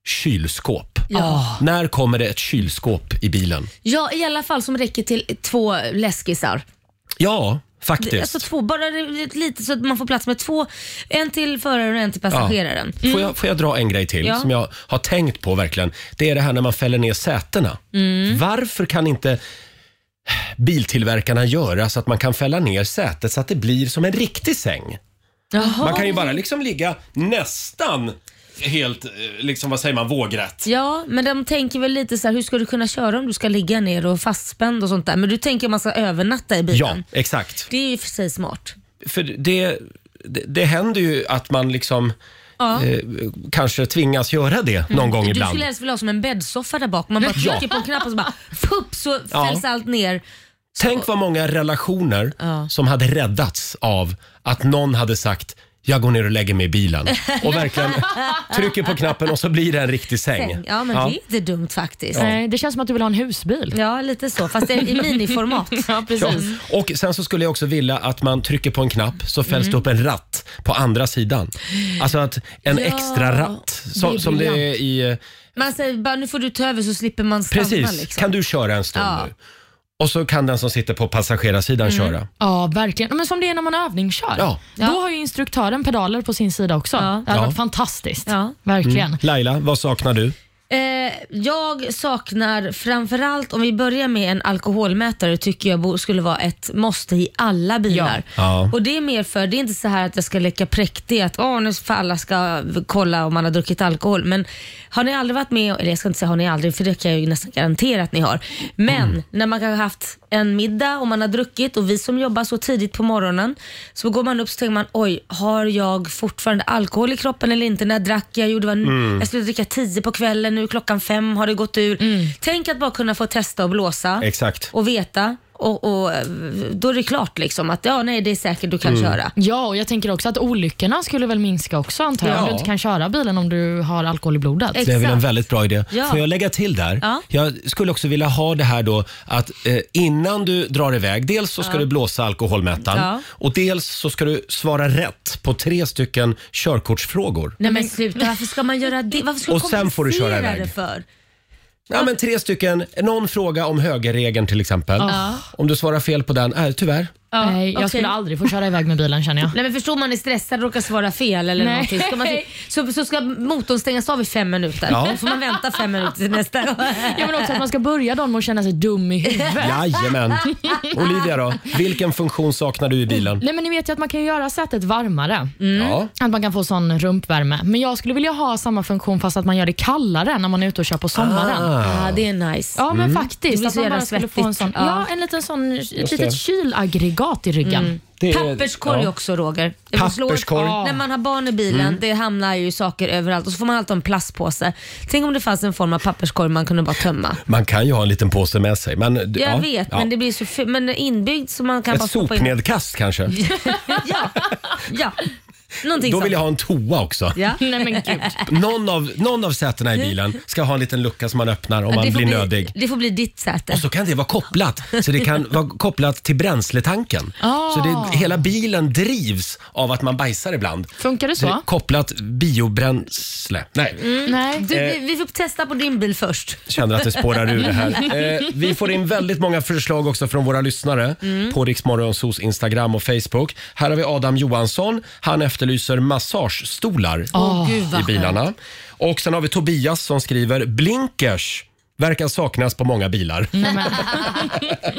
S1: Kylskåp.
S2: Ja.
S1: När kommer det ett kylskåp i bilen?
S2: ja, i alla fall som räcker till två läskisar.
S1: Ja, faktiskt.
S2: Alltså två, bara ett litet så att man får plats med två. En till föraren och en till passageraren.
S1: Ja. Får, jag, får jag dra en grej till
S2: Mm. Ja.
S1: som jag har tänkt på verkligen. Det är det här när man fäller ner sätena.
S2: Mm.
S1: Varför kan inte biltillverkarna göra så att man kan fälla ner sätet så att det blir som en riktig säng?
S2: Jaha.
S1: Man kan ju bara liksom ligga nästan helt, eh, liksom vad säger man, vågrätt.
S2: Ja, men de tänker väl lite så här, hur ska du kunna köra om du ska ligga ner och fastspänd och sånt där. Men du tänker om man ska övernatta i
S1: Ja,
S2: bilen.
S1: exakt.
S2: Det är ju i och för sig smart.
S1: För det, det, det händer ju att man liksom
S2: Ja. Mm.
S1: eh, kanske tvingas göra det någon gång
S2: Du
S1: ibland.
S2: skulle helst vilja ha som en bäddsoffa där bak. Man bara
S1: Ja.
S2: trycker på en knapp och så bara fupp så
S1: Ja.
S2: fälls allt ner.
S1: Tänk vad många relationer
S2: Ja.
S1: som hade räddats av att någon hade sagt jag går ner och lägger mig i bilen och verkligen trycker på knappen och så blir det en riktig säng.
S2: Ja men det är inte dumt faktiskt.
S3: Nej, det känns som att du vill ha en husbil.
S2: Ja, lite så. Fast det är i miniformat.
S3: Ja,
S1: Ja.
S3: precis.
S1: Och sen så skulle jag också vilja att man trycker på en knapp så
S2: Mm.
S1: fälls det upp en ratt på andra sidan. Alltså att en extra ratt som det,
S3: är
S1: som det är i... eh,
S2: Man säger alltså, bara nu får du ta över så slipper man stanna.
S1: Precis,
S2: Liksom.
S1: kan du köra en stund
S2: Ja. Mm.
S1: nu? Och så kan den som sitter på passagerarsidan köra.
S3: Ja, verkligen. Men som det är när man övningskör.
S1: Ja.
S3: Då har ju instruktören pedaler på sin sida också. Det hade
S1: Ja. Mm.
S3: varit fantastiskt.
S2: Ja.
S3: Verkligen.
S1: Laila, vad saknar du?
S2: Eh, jag saknar framförallt, om vi börjar med en alkoholmätare, tycker jag bo- skulle vara ett måste i alla bilar.
S1: Ja.
S2: Och det är mer för, det är inte så här att jag ska leka präktig, att åh, nu för alla ska v- kolla om man har druckit alkohol. Men har
S1: Mm.
S2: ni aldrig varit med, eller jag ska inte säga har ni aldrig, för det kan jag ju nästan garantera att ni har. Men när man kanske har haft en middag och man har druckit och vi som jobbar så tidigt på morgonen så går man upp så tänker man oj, har jag fortfarande alkohol i kroppen eller inte? När drack jag? Jo, det var nu.
S1: Mm.
S2: Jag skulle dricka tio på kvällen, nu är klockan fem, har det gått ur? Tänk att bara kunna få testa och blåsa
S1: Exakt.
S2: och veta och, och eh, då är det klart liksom att ja, nej, det är säkert du
S1: Mm.
S2: kan köra.
S3: Ja, och jag tänker också att olyckorna skulle väl minska också antar jag, om
S1: Ja.
S3: du inte kan köra bilen om du har alkohol i blodet.
S2: Ex-
S1: Det är väl en
S2: Exakt.
S1: väldigt bra idé.
S2: Ja.
S1: Får jag lägga till där?
S2: Ja.
S1: Jag skulle också vilja ha det här då att eh, innan du drar iväg, dels så ska du blåsa alkoholmättan
S2: Ja.
S1: och dels så ska du svara rätt på tre stycken körkortsfrågor.
S2: Nej men sluta, varför ska man göra det? Varför ska
S1: Och
S2: man
S1: sen får du köra
S2: komplicera
S1: iväg.
S2: det för?
S1: Ja, men tre stycken, någon fråga om högerregeln till exempel. Om du svarar fel på den, äh, tyvärr.
S3: Nej, jag
S2: okej.
S3: skulle aldrig få köra iväg med bilen känner jag.
S2: Nej men förstår man är stressad och råkar svara fel eller
S3: Nej.
S2: någonting ska man, så, så ska motorn stängas av i fem minuter.
S1: Ja.
S2: Då får man vänta fem minuter till nästa gång.
S3: Ja, men också att man ska börja dagen med att känna sig dum i huvudet.
S1: Jajamän. Olivia då, vilken funktion saknar du i bilen?
S3: Nej, men ni vet ju att man kan göra sätet varmare.
S2: Mm.
S1: Ja.
S3: Att man kan få sån rumpvärme. Men jag skulle vilja ha samma funktion fast att man gör det kallare när man är ute och kör på sommaren.
S2: Ja, det är nice.
S3: Ja, men
S2: Det
S3: faktiskt.
S2: blir
S3: Att
S2: så
S3: man
S2: jävla
S3: bara skulle få en sån,
S2: svettigt.
S3: ja.
S2: Ja.
S3: en liten sån, ett
S1: det.
S3: litet kylaggregat i ryggen.
S1: Det är-
S2: Papperskorg
S1: ja.
S2: också Roger. Det får slå-
S1: Papperskorg. Mm.
S2: När man har barn i bilen, det hamnar ju saker överallt och så får man alltid en plastpåse. Tänk om det fanns en form av papperskorg man kunde bara tömma.
S1: Man kan ju ha en liten påse med sig. Men,
S2: Jag
S1: ja,
S2: vet,
S1: ja.
S2: men det blir så ful- men inbyggt så man kan bara
S1: Ett
S2: stoppa in.
S1: sopnedkast kanske?
S2: ja, ja, någonting
S1: Då
S2: sånt.
S1: vill jag ha en toa också.
S2: Ja.
S3: Nej men gud.
S1: Någon av, någon av sätena i bilen ska ha en liten lucka som man öppnar om
S2: Ja,
S1: man
S2: det får
S1: blir
S2: bli-
S1: nödig.
S2: Det får bli ditt säte.
S1: Och så kan det vara kopplat. Så det kan vara kopplat till bränsletanken.
S3: Ah.
S1: Så det, hela bilen drivs av att man bajsar ibland.
S3: Funkar det
S1: Så det
S3: så?
S1: är kopplat biobränsle. Nej,
S3: Nej.
S2: Du,
S1: eh,
S2: vi, vi får testa på din bil först.
S1: känner att det spårar ur det här. Eh, vi får in väldigt många förslag också från våra lyssnare
S2: Mm.
S1: på Riksmorgonsos Instagram och Facebook. Här har vi Adam Johansson. Han efterlyser massagestolar.
S2: Åh gud vad
S1: i bilarna. Och sen har vi Tobias som skriver blinkers verkar saknas på många bilar.
S2: Mm. skönt.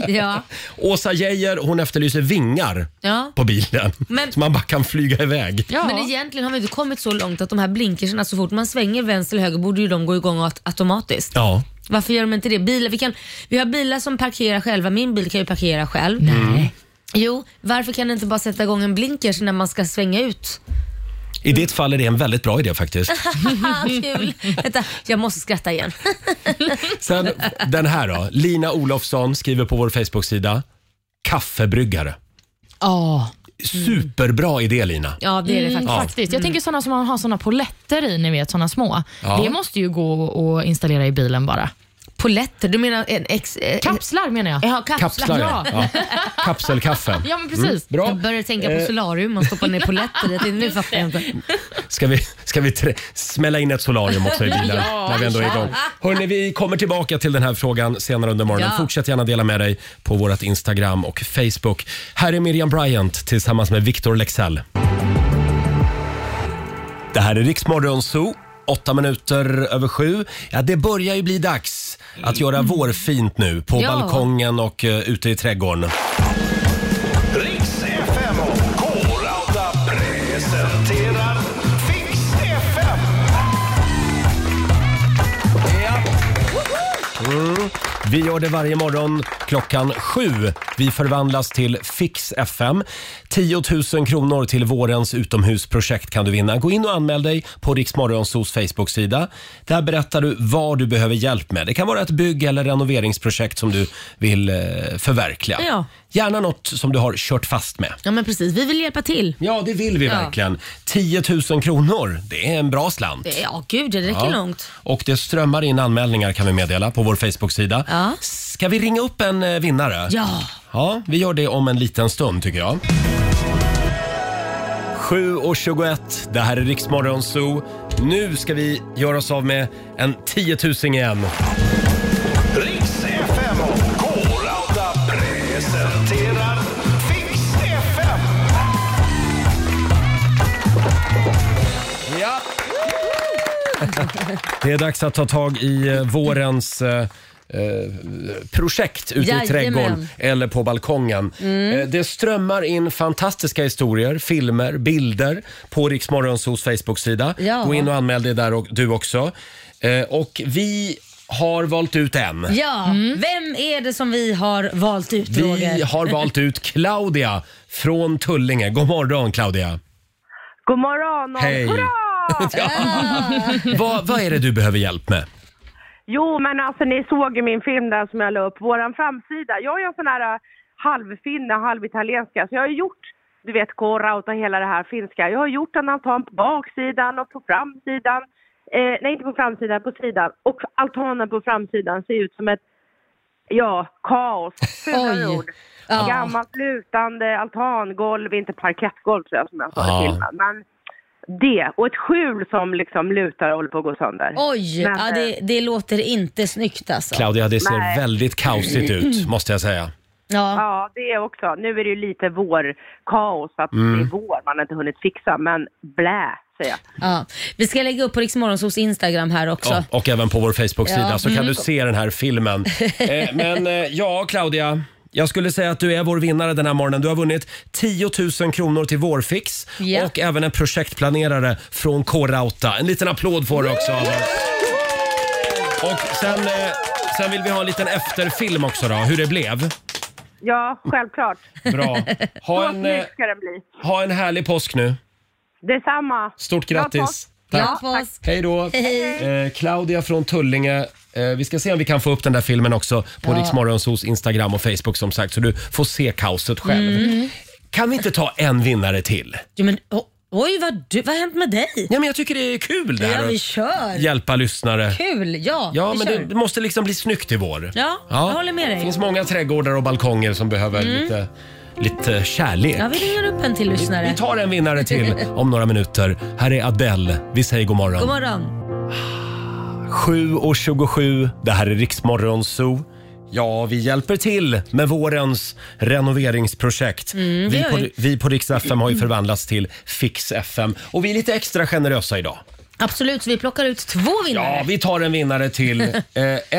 S2: Ja.
S1: Åsa Geijer hon efterlyser vingar
S2: Ja.
S1: på bilen
S2: Men-
S1: så man bara kan flyga iväg.
S3: Ja.
S2: Men egentligen har vi inte kommit så långt att de här blinkerserna, så fort man svänger vänster eller höger borde ju de gå igång aut- automatiskt.
S1: Ja.
S2: Varför gör de inte det? Bilar, vi, kan, vi har bilar som parkerar själva, min bil kan ju parkera själv.
S1: Mm.
S2: Jo, varför kan det inte bara sätta igång en blinkers när man ska svänga ut?
S1: I ditt fall är det en väldigt bra idé faktiskt.
S2: Haha, Kul! Vänta, jag måste skratta igen.
S1: Sen den här då. Lina Olofsson skriver på vår Facebook-sida kaffebryggare.
S3: Ja,
S1: Superbra idé Lina.
S2: Ja, det är det faktiskt.
S3: Mm, faktiskt. Jag tänker sådana som man har såna poletter i, ni vet sådana små.
S1: Ja.
S3: Det måste ju gå att installera i bilen bara.
S2: Poletter, du menar en ex... eh,
S3: Kapslar menar jag.
S2: Jaha, kapslar.
S1: Kapslar ja. ja. Kapselkaffe.
S3: Ja men precis.
S1: Bra. Eh.
S2: Jag började tänka på solarium, man stoppar ner polletter i det. Nu fattar jag inte.
S1: Ska vi, ska vi trä- smälla in ett solarium också i bilen när vi ändå är igång? Hörrni, vi kommer tillbaka till den här frågan senare under morgonen.
S2: Ja.
S1: Fortsätt gärna dela med dig på vårt Instagram och Facebook. Här är Miriam Bryant tillsammans med Victor Lexell. Det här är Riksmorgon Zoo. Åtta minuter över sju. Ja, det börjar ju bli dags att göra vårfint nu på
S2: Ja.
S1: balkongen och uh, ute i trädgården.
S6: Riks FM och K-Rauta presenterar Fix FM.
S1: Vi gör det varje morgon klockan sju. Vi förvandlas till Fix FM. 10 000 kronor till vårens utomhusprojekt kan du vinna. Gå in och anmäl dig på Riksmorgonsos Facebook-sida. Där berättar du vad du behöver hjälp med. Det kan vara ett bygg eller renoveringsprojekt som du vill eh, förverkliga.
S2: Ja.
S1: Gärna något som du har kört fast med.
S2: Ja men precis, vi vill hjälpa till.
S1: Ja, det vill vi verkligen. 10 000 kronor, det är en bra slant.
S2: Det- Ja gud, det räcker
S1: Ja.
S2: långt.
S1: Och det strömmar in anmälningar kan vi meddela på vår Facebook-sida.
S2: Ja.
S1: Ska vi ringa upp en eh, vinnare?
S2: Ja.
S1: Ja, vi gör det om en liten stund tycker jag. 7.21, det här är Riksmorgon Zoo. Nu ska vi göra oss av med en tiotusing igen.
S6: Riks FM och K-Rauta presenterar Fix FM.
S1: Ja. Det är dags att ta tag i eh, vårens eh, eh, projekt ute i
S2: Jajamän. Mm.
S1: trädgården eller på balkongen. Eh, det strömmar in fantastiska historier, filmer, bilder på Riksmorgonsos Facebook-sida.
S2: Ja.
S1: Gå in och anmäl dig där och, du också. Eh, och vi har valt ut en.
S2: Ja, vem är det som vi har valt ut
S1: Vi
S2: Roger?
S1: har valt ut Claudia från Tullinge. God morgon Claudia!
S5: God morgon och
S1: Hej.
S5: hurra!
S1: Ja. vad, vad är det du behöver hjälp med?
S5: Jo, men alltså ni såg ju min film där som jag la upp, våran framsida. Jag är ju en sån här äh, halvfinne, halvitalienska, så jag har ju gjort, du vet, korauta och hela det här finska. Jag har gjort en altan på baksidan och på framsidan. Eh, nej, inte på framsidan, på sidan. Och altanen på framsidan ser ut som ett, ja, kaos. Fula
S2: Oj.
S5: ord.
S2: Ja.
S5: Gammalt lutande altangolv, inte parkettgolv tror jag som jag sa
S1: Ja.
S5: i filmen. Men det, och ett skjul som liksom lutar och håller på att gå sönder.
S2: Oj,
S5: Men, eh,
S2: ja, det, det låter inte snyggt alltså.
S1: Claudia, det ser
S5: Nej.
S1: väldigt kaosigt ut måste jag säga.
S2: Ja.
S5: Ja, det är också. Nu är det ju lite vårkaos, att det är vår man har inte hunnit fixa, men blä, säger jag.
S2: Ja. Vi ska lägga upp på Riksmorgonsos Instagram här också.
S1: Ja, och även på vår Facebook-sida
S2: Ja.
S1: så kan du se den här filmen. Eh, men eh, ja, Claudia. Jag skulle säga att du är vår vinnare den här morgonen. Du har vunnit 10 000 kronor till Vårfix
S2: Ja.
S1: och även en projektplanerare från K-Rauta. En liten applåd får du också av oss. Och sen, eh, sen vill vi ha en liten efterfilm också då, hur det blev.
S5: Ja, självklart.
S1: Bra. Ha
S5: Så
S1: en, eh,
S5: snygg ska den bli.
S1: ha en härlig påsk nu.
S5: Detsamma.
S1: Stort
S5: Bra
S1: grattis.
S5: påsk.
S2: Glad på oss.
S1: Hej då! Eh, Claudia från Tullinge. Eh, vi ska se om vi kan få upp den där filmen också på
S2: Ja.
S1: Rix Morgonzos Instagram och Facebook som sagt, så du får se kaoset själv.
S2: Mm.
S1: Kan vi inte ta en vinnare till?
S2: Jo, men, o- oj, vad, du, vad har hänt med dig?
S1: Ja, men jag tycker det är kul det
S2: Ja,
S1: här
S2: vi
S1: att
S2: kör.
S1: hjälpa lyssnare.
S2: Kul, ja.
S1: Ja,
S2: vi
S1: men
S2: kör.
S1: det, det måste liksom bli snyggt i vår.
S2: Ja, jag håller med dig. Mm.
S1: Det finns många trädgårdar och balkonger som behöver lite, lite kärlek.
S2: Ja, vi ringer upp en till lyssnare.
S1: Vi tar en vinnare till om några minuter. Här är Adele. Vi säger god morgon.
S2: God morgon.
S1: 7.27, det här är Riksmorgon Zoo. Ja, vi hjälper till med vårens renoveringsprojekt. vi,
S2: Mm, gör
S1: på,
S2: vi.
S1: vi på Rix FM har ju förvandlats till Fix FM och vi är lite extra generösa idag.
S2: Absolut, så vi plockar ut två vinnare.
S1: Ja, vi tar en vinnare till. eh,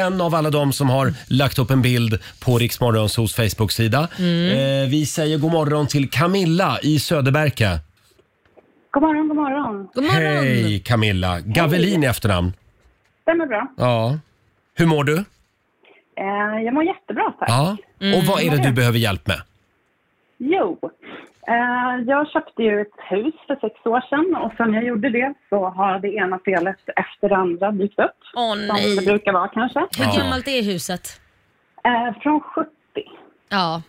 S1: en av alla de som har lagt upp en bild på Riksmorgon Zoos Facebook-sida.
S2: Mm.
S1: Eh, vi säger god morgon till Camilla i Söderberka.
S5: God morgon, god morgon.
S2: God morgon.
S1: Hej Camilla! Gavelin i efternamn.
S5: Stämmer bra.
S1: Ja. Hur mår du?
S5: Eh, jag mår jättebra, tack. Mm.
S1: Ja. Och vad är det du behöver hjälp med?
S5: Jo, eh, jag köpte ju ett hus för sex år sedan och sen jag gjorde det så har det ena felet efter det andra dykt upp.
S2: Åh
S5: Som det
S2: nej.
S5: brukar vara kanske.
S2: Hur
S1: Ja.
S2: gammalt är huset?
S5: Eh, från 70.
S2: Ja.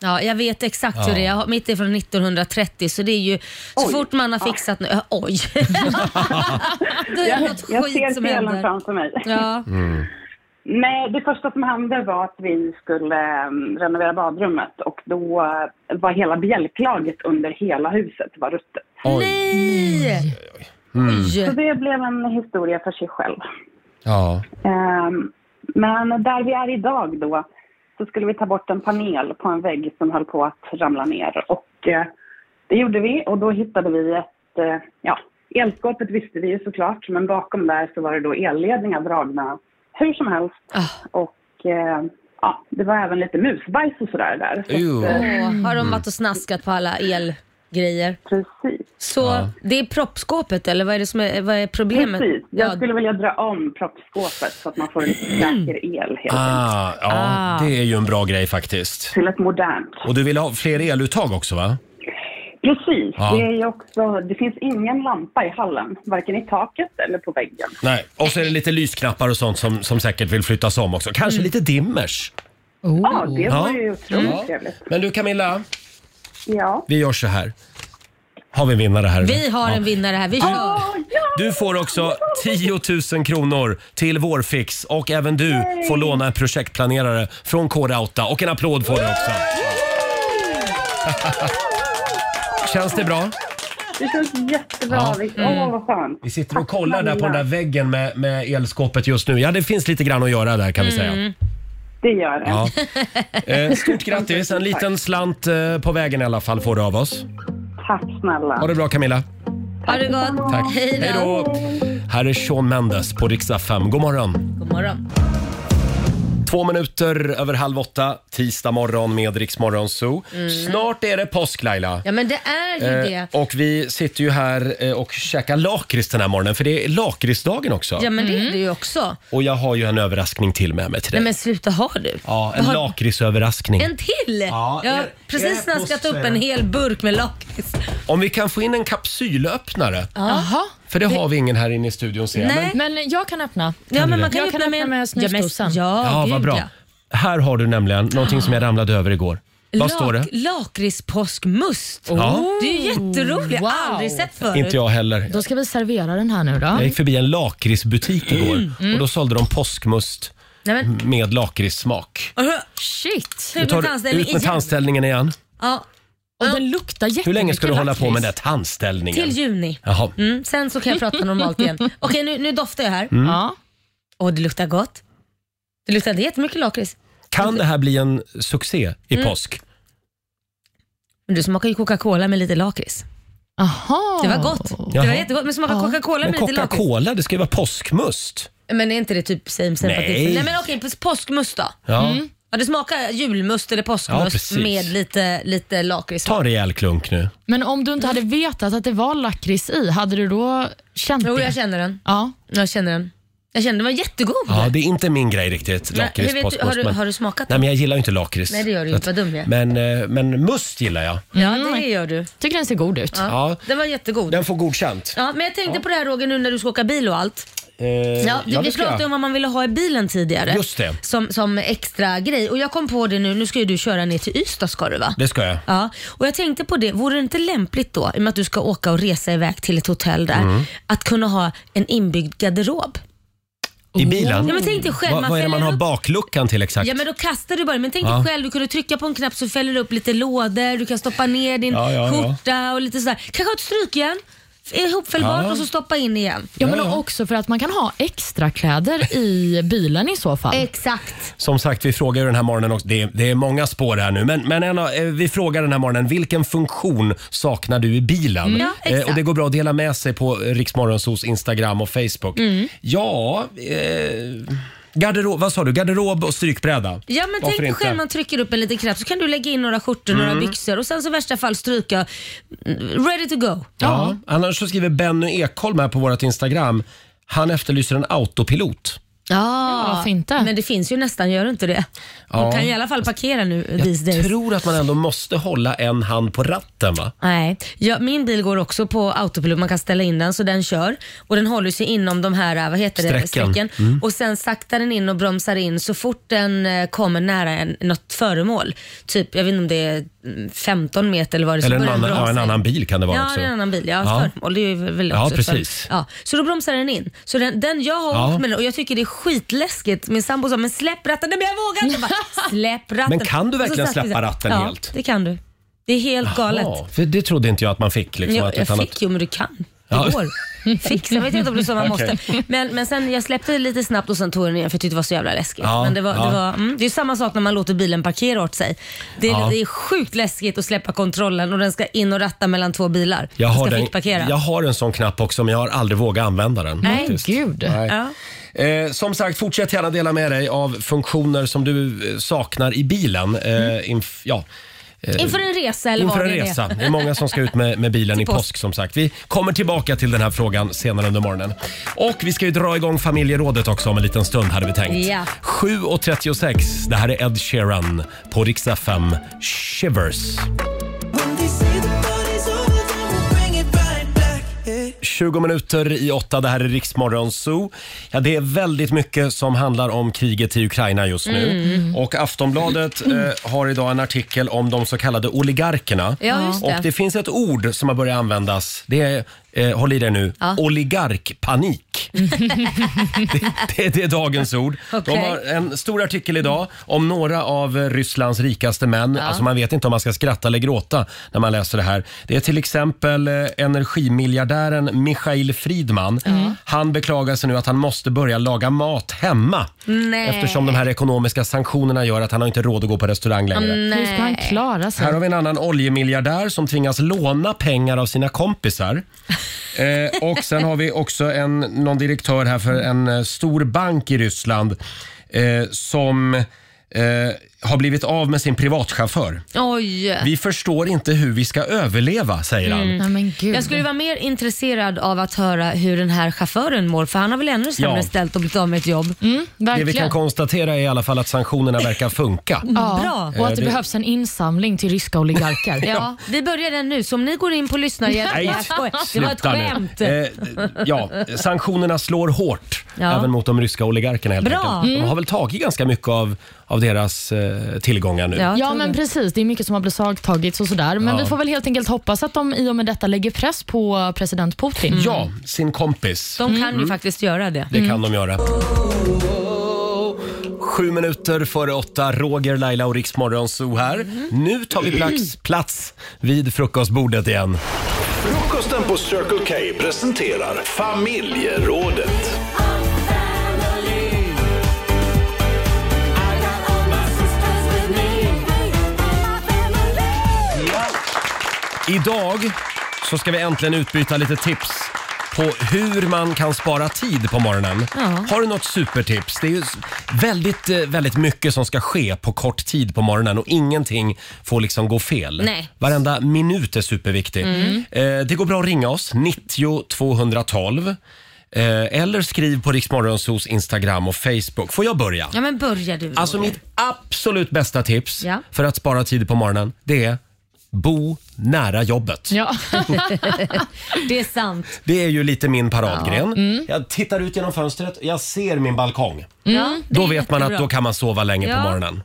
S2: Ja, jag vet exakt hur
S1: Ja.
S2: det är. Jag har- Mitt är från 1930 så det är ju så
S5: Oj.
S2: fort man har fixat nu. Oj! Då är
S5: Jag,
S2: det
S5: jag
S2: något skit
S5: ser
S2: som
S5: felen
S2: händer.
S5: framför mig.
S2: Ja.
S5: Nej, det första som hände var att vi skulle eh, renovera badrummet och då eh, var hela bjälklaget under hela huset var ruttet.
S1: Oj.
S2: Nej!
S5: Så
S1: Mm.
S2: Oj!
S5: det blev en historia för sig själv.
S1: Ja.
S5: Ehm, Men där vi är idag då så skulle vi ta bort en panel på en vägg som höll på att ramla ner och eh, det gjorde vi och då hittade vi ett, eh, ja, elskåpet visste vi ju såklart men bakom där så var det då elledningar dragna hur som helst
S2: Ah.
S5: och eh, ja, det var även lite musbajs och sådär där. Så
S1: Ew.
S5: att, eh,
S2: Åh, har de varit och snaskat på alla elgrejer?
S5: precis.
S2: Så
S1: Ja.
S2: det är proppskåpet eller vad är, det som är, vad är problemet?
S5: Precis. Jag
S2: Ja.
S5: skulle vilja dra om proppsskåpet så att man får en säker el helt enkelt.
S1: Ah, ja,
S2: Ah.
S1: det är ju en bra grej faktiskt.
S5: Till ett modernt.
S1: Och du vill ha fler eluttag också va?
S5: Precis.
S1: Ja.
S5: Det, är ju också, det finns ingen lampa i hallen, varken i taket eller på väggen.
S1: Nej. Och så är det lite lysknappar och sånt som, som säkert vill flyttas om också.
S5: Mm.
S1: Kanske lite dimmers.
S5: Ja, det var
S1: Ja. Mm.
S5: ju otroligt trevligt.
S1: Men du Camilla,
S5: Ja.
S1: vi gör så här. Har vi en vinnare här?
S2: Vi har en vinnare här, vi kör!
S5: Åh, ja!
S1: Du får också 10 000 kronor till Vårfix och även du får låna en projektplanerare från K-Rauta och en applåd får du också. Känns det bra?
S5: Det känns jättebra.
S1: Ja. Mm.
S5: Åh, vad skönt.
S1: Vi sitter och kollar där på den där väggen med, med elskåpet just nu. Ja, det finns lite grann att göra där kan vi
S2: Mm.
S1: säga.
S5: Det gör det.
S1: Ja. Eh, stort grattis! En liten slant eh, på vägen i alla fall får du av oss.
S5: Tack snälla.
S1: Ha det bra Camilla!
S2: Ha det gott!
S1: Tack!
S2: Hej då!
S1: Här är Shawn Mendes på riksdag 5. God morgon!
S2: God morgon.
S1: Två minuter över halv åtta, tisdag morgon med Rix Morgon Zoo. Snart är det påsk Laila.
S2: Mm. Ja men det är ju
S1: Eh,
S2: det.
S1: och vi sitter ju här eh, och käkar lakrits den här morgonen för det är lakritsdagen också.
S2: Ja men det är det
S1: mm.
S2: ju också.
S1: Och jag har ju en överraskning till med mig till dig.
S2: Nej men sluta ha du.
S1: Ja, en
S2: Vad-
S1: lakritsöverraskning.
S2: En till?
S1: Ja,
S2: Ja,
S1: är- är
S2: precis
S1: det
S2: när jag ska
S1: post,
S2: ta upp
S1: säger
S2: en
S1: jag.
S2: hel burk med lakrits.
S1: Om vi kan få in en kapsylöppnare.
S3: Jaha.
S1: För det har vi ingen här inne i studion ser jag.
S2: Nej.
S1: Men,
S3: Men jag kan öppna.
S2: Ja, men man kan
S3: Jag
S2: ju
S3: kan
S2: öppna med,
S3: öppna
S2: en-
S3: med snusdosan.
S2: Ja, men-
S1: ja,
S2: ja, gud,
S1: vad bra.
S2: ja.
S1: Här har du nämligen någonting som jag ramlade över igår. Vad står det?
S2: Lak- Lakritspåskmust.
S1: Ja.
S2: Det är ju jätteroligt.
S3: Wow.
S2: Aldrig sett förut.
S1: Inte jag heller.
S3: Då ska vi servera den här nu då.
S1: Jag gick förbi en lakritsbutik
S2: Mm.
S1: igår och då sålde de påskmust
S2: Nej, men,
S1: med lakritssmak.
S2: uh,
S3: Shit.
S1: Nu
S2: ut
S1: Mm. tar du-
S2: med tandställning
S1: Ut med
S2: igen.
S1: tandställningen igen.
S2: Ja,
S3: Och den luktar jättemycket
S1: Hur länge ska du hålla på med den
S3: lakrits.
S1: där tandställningen?
S2: till juni.
S1: Jaha.
S2: Mm, sen så kan jag prata normalt igen. Okej, nu, nu doftar jag
S1: Mm.
S2: här.
S3: Ja.
S2: Åh, det luktar gott. Det luktar jättemycket lakrits.
S1: Kan det här bli en succé i
S2: Mm.
S1: påsk?
S2: Men du smakar ju Coca-Cola med lite lakrits.
S3: Aha.
S2: Det var gott. Det
S1: Jaha.
S2: var jättegott. Men smakar Coca-Cola
S1: Men
S2: med lite lakrits?
S1: Coca-Cola, det ska ju vara påskmust.
S2: Men är inte det typ same same
S1: Nej.
S2: Nej. Nej men okej, påskmust då?
S1: Ja.
S2: Ja, det smakar julmust eller
S1: Ja,
S2: påskmust
S1: precis.
S2: med lite, lite lakrits.
S1: Ta en rejäl klunk nu.
S3: Men om du inte hade vetat att det var lakrits i, hade du då känt
S2: Jo,
S3: det?
S2: jag känner den.
S3: Ja.
S2: Jag känner den. Jag känner den var jättegod.
S1: Ja, det är inte min grej riktigt,
S2: Men hur vet du, har,
S1: lakritspåskmust.
S2: du,
S1: men-
S2: har du smakat
S1: Nej,
S2: den?
S1: men jag gillar ju inte lakrits.
S2: Nej, det gör du ju inte. Vad dum jag är.
S1: Men, eh, men must gillar jag.
S2: Ja, det gör du.
S3: Mm. Tycker den ser god ut.
S1: Mm. Ja.
S2: Ja. Den var jättegod.
S1: Den får godkänt.
S2: Ja, men jag tänkte på det här Roger nu när du ska åka bil och allt.
S1: Eh,
S2: Ja,
S1: ja,
S2: vi
S1: det ska
S2: pratade
S1: jag.
S2: om vad man ville ha i bilen tidigare.
S1: Just det.
S2: Som, som extra grej. Och jag kom på det nu, nu ska ju du köra ner till Ystad ska du va?
S1: Det ska jag.
S2: Ja, och jag tänkte på det, vore det inte lämpligt då, i och med att du ska åka och resa iväg till ett hotell där,
S1: Mm.
S2: att kunna ha en inbyggd garderob?
S1: I bilen?
S2: Oh. Ja, men tänk dig själv,
S1: vad,
S2: man
S1: vad är det man
S2: fäller
S1: har
S2: upp-
S1: bakluckan till exakt?
S2: Ja men då kastar du bara, men tänk dig
S1: Ja.
S2: själv, du kunde trycka på en knapp så fäller du upp lite lådor, du kan stoppa ner din
S1: Ja, ja, ja.
S2: skjorta och lite sådär. Kanske ha ett strykjärn, ihopfällbart
S1: Ja.
S2: och så stoppa in igen.
S3: Ja, men också för att man kan ha extra kläder i bilen i så fall.
S2: Exakt.
S1: Som sagt, vi frågar ju den här morgonen också. Det är, det är många spår här nu. Men, men en, av- eh, vi frågar den här morgonen, vilken funktion saknar du i bilen?
S2: Mm.
S1: Eh,
S2: Ja, exakt.
S1: och det går bra att dela med sig på Riksmorgonsos Instagram och Facebook.
S2: Mm.
S1: Ja, eh, garderob, vad sa du? Garderob och strykbräda.
S2: Ja men
S1: Varför
S2: tänk
S1: inte?
S2: dig
S1: Mm.
S2: själv, man trycker upp en liten knapp så kan du lägga in några skjortor, några byxor och sen så i värsta fall stryka, mm, ready to go.
S1: Ja. Annars så skriver Benny Ekholm här på vårt Instagram. Han efterlyser en autopilot.
S2: Ja,
S3: varför inte?
S2: Men det finns ju nästan, gör det inte det?
S1: Ja.
S2: Man kan i alla fall parkera nu these days.
S1: Jag tror att man ändå måste hålla en hand på ratten va?
S2: Nej, ja, min bil går också på autopilot. Man kan ställa in den så den kör och den håller sig inom de här, eh, vad heter det,
S1: Sträckan. Mm.
S2: Och sen saktar den in och bromsar in så fort den eh, kommer nära en, något föremål. Typ, jag vet inte om det är mm, 15 meter eller vad det är. så
S1: Eller en,
S2: börjar den
S1: annan, ja,
S2: bromsa
S1: en
S2: in.
S1: annan bil kan det vara
S2: Ja,
S1: också.
S2: det är en annan bil. Ja,
S1: Ja.
S2: föremål. Det är ju väl
S1: Ja,
S2: också ett
S1: precis.
S2: föremål. Ja, så då bromsar den in. Så den, den jag har
S1: Ja.
S2: åkt med den och jag tycker det är skitläskigt. Min sambo sa, men släpp ratten. Nej, men jag vågar inte. Jag Bara, släpp ratten.
S1: Men kan du
S2: Och så
S1: verkligen
S2: satt vi så här.
S1: släppa ratten
S2: ja,
S1: helt?
S2: det kan du. Det är helt galet.
S1: Ja, för det trodde inte jag att man fick. Liksom,
S2: Jag,
S1: att
S2: jag
S1: ett annat-
S2: fick ju, men du kan. Det
S1: Ja.
S2: går. Fixa. Jag vet inte om det är så man måste. Men, men sen jag släppte det lite snabbt och sen tog jag den igen för jag tyckte det var så jävla läskigt.
S1: Ja,
S2: Men det, var,
S1: ja.
S2: det, var, mm, det är ju samma sak när man låter bilen parkera åt sig. Det är,
S1: Ja.
S2: det är sjukt läskigt att släppa kontrollen och den ska in och ratta mellan två bilar.
S1: Jag
S2: Den
S1: har,
S2: ska
S1: den,
S2: fickparkera.
S1: jag har en sån knapp också men jag har aldrig vågat använda den.
S3: Nej,
S1: faktiskt.
S3: gud.
S1: Nej.
S2: Ja.
S1: Eh, som sagt, fortsätt gärna dela med dig av funktioner som du eh, saknar i bilen. Eh, inf- ja,
S2: Inför en resa Mm.
S1: Eh,
S2: eller
S1: inför
S2: vad
S1: en
S2: det är.
S1: resa. Det är många som ska ut med, med bilen i
S2: påsk.
S1: påsk som sagt. Vi kommer tillbaka till den här frågan senare under morgonen. Och vi ska ju dra igång familjerådet också om en liten stund hade vi tänkt.
S2: Ja.
S1: 7.36, det här är Ed Sheeran på riksdag 5, Shivers. 20 minuter i åtta, det här är Riksmorgon Zoo. Ja, det är väldigt mycket som handlar om kriget i Ukraina just nu.
S2: Mm.
S1: Och Aftonbladet eh, har idag en artikel om de så kallade oligarkerna.
S2: Ja, just
S1: Och
S2: det.
S1: det finns ett ord som har börjat användas. Det är, eh, håll i dig nu,
S2: Ja.
S1: oligarkpanik. det, det, det är dagens ord.
S2: Okej.
S1: De har en stor artikel idag om några av eh, Rysslands rikaste män. Alltså man vet inte om man ska skratta eller gråta när man läser det här. Det är till exempel eh, energimiljardären Michail Friedman. Han beklagar sig nu att han måste börja laga mat hemma.
S2: Nej.
S1: Eftersom de här ekonomiska sanktionerna gör att han har inte råd att gå på restaurang
S2: Mm.
S1: längre.
S3: Hur ska han klara sig?
S1: Här har vi en annan oljemiljardär som tvingas låna pengar av sina kompisar. Eh, och sen har vi också en, någon direktör här för en eh, stor bank i Ryssland eh, som eh, har blivit av med sin privatchaufför.
S2: Oj.
S1: Vi förstår inte hur vi ska överleva, säger han.
S3: Nej, men gud.
S2: Mm. Jag skulle vara mer intresserad av att höra hur den här chauffören mår för han har väl ännu sämre
S1: Ja.
S2: ställt och blivit av med ett jobb.
S3: mm,
S1: Det
S3: verkligen.
S1: vi kan konstatera är i alla fall att sanktionerna verkar funka.
S3: ja.
S2: Mm. Bra.
S3: Och att
S1: Eh,
S3: det,
S1: det-
S3: behövs en insamling till ryska oligarker.
S2: Ja, vi börjar den nu. Så om ni går in på lyssnarhjälpen.
S1: Nej,
S2: Jag skojar. Det var ett
S1: sluta nu.
S2: skämt.
S1: Eh, ja, sanktionerna slår hårt
S2: Ja.
S1: även mot de ryska oligarkerna. Helt
S2: Bra.
S1: enkelt. De har väl tagit ganska mycket av, av deras eh, tillgångar nu.
S2: Ja, jag
S3: Ja,
S2: tror
S3: men
S2: det.
S3: precis. Det är mycket som har beslagtagits och sådär. Men
S1: Ja.
S3: vi får väl helt enkelt hoppas att de i och med detta lägger press på president Putin.
S2: Mm.
S1: Ja, sin kompis.
S2: De kan ju faktiskt göra det.
S1: Det kan de göra. Sju minuter före åtta, Roger, Laila och Riksmorgon Zoo här. Nu tar vi plats, plats vid frukostbordet igen.
S6: Frukosten på Circle K presenterar Familjerådet.
S1: Idag så ska vi äntligen utbyta lite tips på hur man kan spara tid på morgonen. Har du något supertips? Det är ju s- väldigt, eh, väldigt mycket som ska ske på kort tid på morgonen och ingenting får liksom gå fel.
S2: Nej. Mm.
S1: Varenda minut är superviktig. Eh, det går bra att ringa oss, 90 212. Eh, eller skriv på Riksmorgonsos Instagram och Facebook. Får jag börja?
S2: Ja, men börja du.
S1: Alltså
S2: Roger.
S1: mitt absolut bästa tips
S2: Ja.
S1: för att spara tid på morgonen, det är bo nära jobbet.
S3: Ja.
S2: Det är sant.
S1: Det är ju lite min paradgren. Jag tittar ut genom fönstret, jag ser min balkong.
S2: Ja, det
S1: Då
S2: är
S1: vet man att
S2: Mm. jättebra.
S1: då kan man sova länge
S2: Ja.
S1: på morgonen.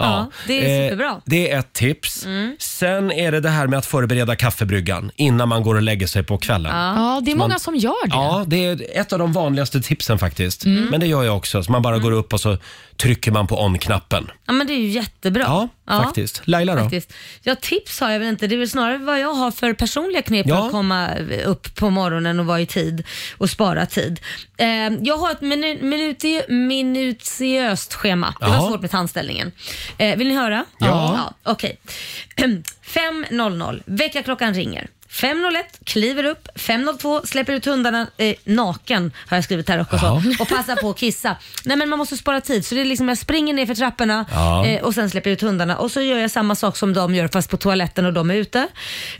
S1: Eh,
S2: Ja, det är superbra.
S1: det är ett tips. Sen är det det här med att förbereda kaffebryggan innan man går och lägger sig på kvällen. Ja.
S3: ja, det är många som gör det.
S1: det är ett av de vanligaste tipsen faktiskt. Men det gör jag också. Så man bara går upp och så trycker man på on-knappen.
S2: Ja, men det är ju jättebra.
S1: Ja, faktiskt. Laila då?
S2: Faktiskt. Ja, tips har jag väl inte. Det är väl snarare vad jag har för personliga knep
S1: Ja.
S2: för att komma upp på morgonen och vara i tid och spara tid. Eh, jag har ett minu- minuti- minutiöst schema. Det
S1: Jaha.
S2: var svårt med tandställningen. Eh, vill ni höra?
S1: Ja.
S2: ja Okej. 5.00, väckarklockan ringer. 5.01 kliver upp, 5.02 släpper ut hundarna eh, naken har jag skrivit här också
S1: Jaha.
S2: och passar på att kissa. Nej men man måste spara tid så det är liksom jag springer ner för trapporna
S1: Ja.
S2: eh, och sen släpper jag ut hundarna och så gör jag samma sak som de gör fast på toaletten och de är ute.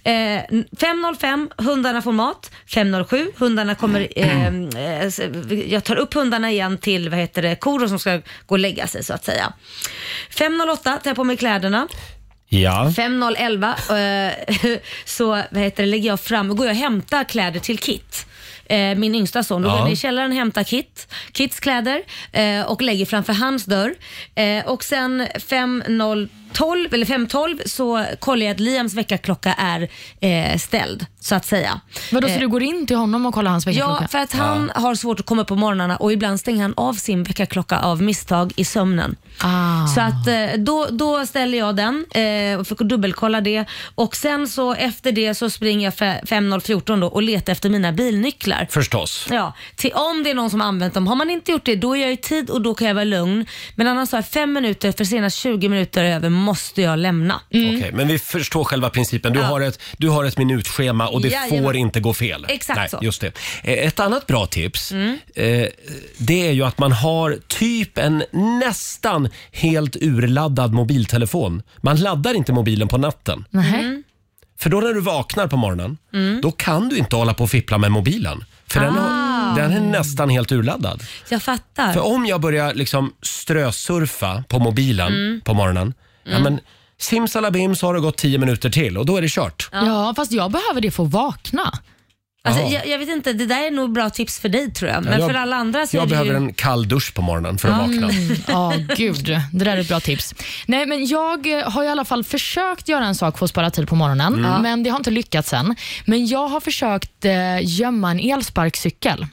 S2: Eh, 5.05 hundarna får mat, 5.07 hundarna kommer, eh, eh, s- jag tar upp hundarna igen till vad heter det, kor som ska gå och lägga sig så att säga. 5.08 tar jag på mig kläderna.
S1: Ja.
S2: 5011 eh, så vad heter det, lägger jag fram och går jag och hämtar kläder till Kit. Eh, min yngsta son. Då går
S1: Ja.
S2: jag ner i källaren och hämtar Kit, Kits kläder eh, och lägger framför hans dörr. Eh, och sen 5012 eller 512 så kollar jag att Liams väckarklocka är eh, ställd så att säga.
S3: Vadå,
S2: Eh,
S3: så du går in till honom och kollar hans
S2: Ja,
S3: väckarklocka?
S2: för att han har svårt att komma upp på morgnarna och ibland stänger han av sin väckarklocka av misstag i sömnen.
S3: Ah.
S2: Så att eh, då, då ställer jag den eh, och får dubbelkolla det. Och sen så efter det så springer jag fe- 5014 då och letar efter mina bilnycklar.
S1: Förstås.
S2: Ja, till om det är någon som har använt dem. Har man inte gjort det, då är jag i tid och då kan jag vara lugn. Men annars har jag fem minuter, för senast 20 minuter över måste jag lämna.
S1: Okej, men vi förstår själva principen. Du,
S2: Mm. Ja.
S1: har, ett, du har ett minutschema och det
S2: Jajamän.
S1: får inte gå fel.
S2: Exakt
S1: Nej,
S2: så. Mm.
S1: Just det. Eh, Ett annat bra tips, eh, det är ju att man har typ en nästan helt urladdad mobiltelefon. Man laddar inte mobilen på natten.
S3: Nähä.
S2: Mm.
S1: För då när du vaknar på morgonen, då kan du inte hålla på och fippla med mobilen. För den,
S2: Ah.
S1: har, den är nästan helt urladdad.
S2: Jag fattar.
S1: För om jag börjar liksom strösurfa på mobilen på morgonen, ja men simsalabim så har det gått 10 minuter till och då är det kört.
S3: Ja. fast jag behöver det för att vakna.
S2: Alltså,
S1: Jaha.
S2: jag, jag vet inte, det där är nog bra tips för dig tror jag. Men
S1: jag-
S2: för alla andra så är
S1: Jag
S2: det
S1: behöver
S2: ju...
S1: en kall dusch på morgonen för att vakna.
S3: Ja, mm. gud. Det där är ett bra tips. Nej, men jag eh, har i alla fall försökt göra en sak för att spara tid på morgonen,
S1: Mm.
S3: men det har inte lyckats än. Men jag har försökt eh, gömma en elsparkcykel.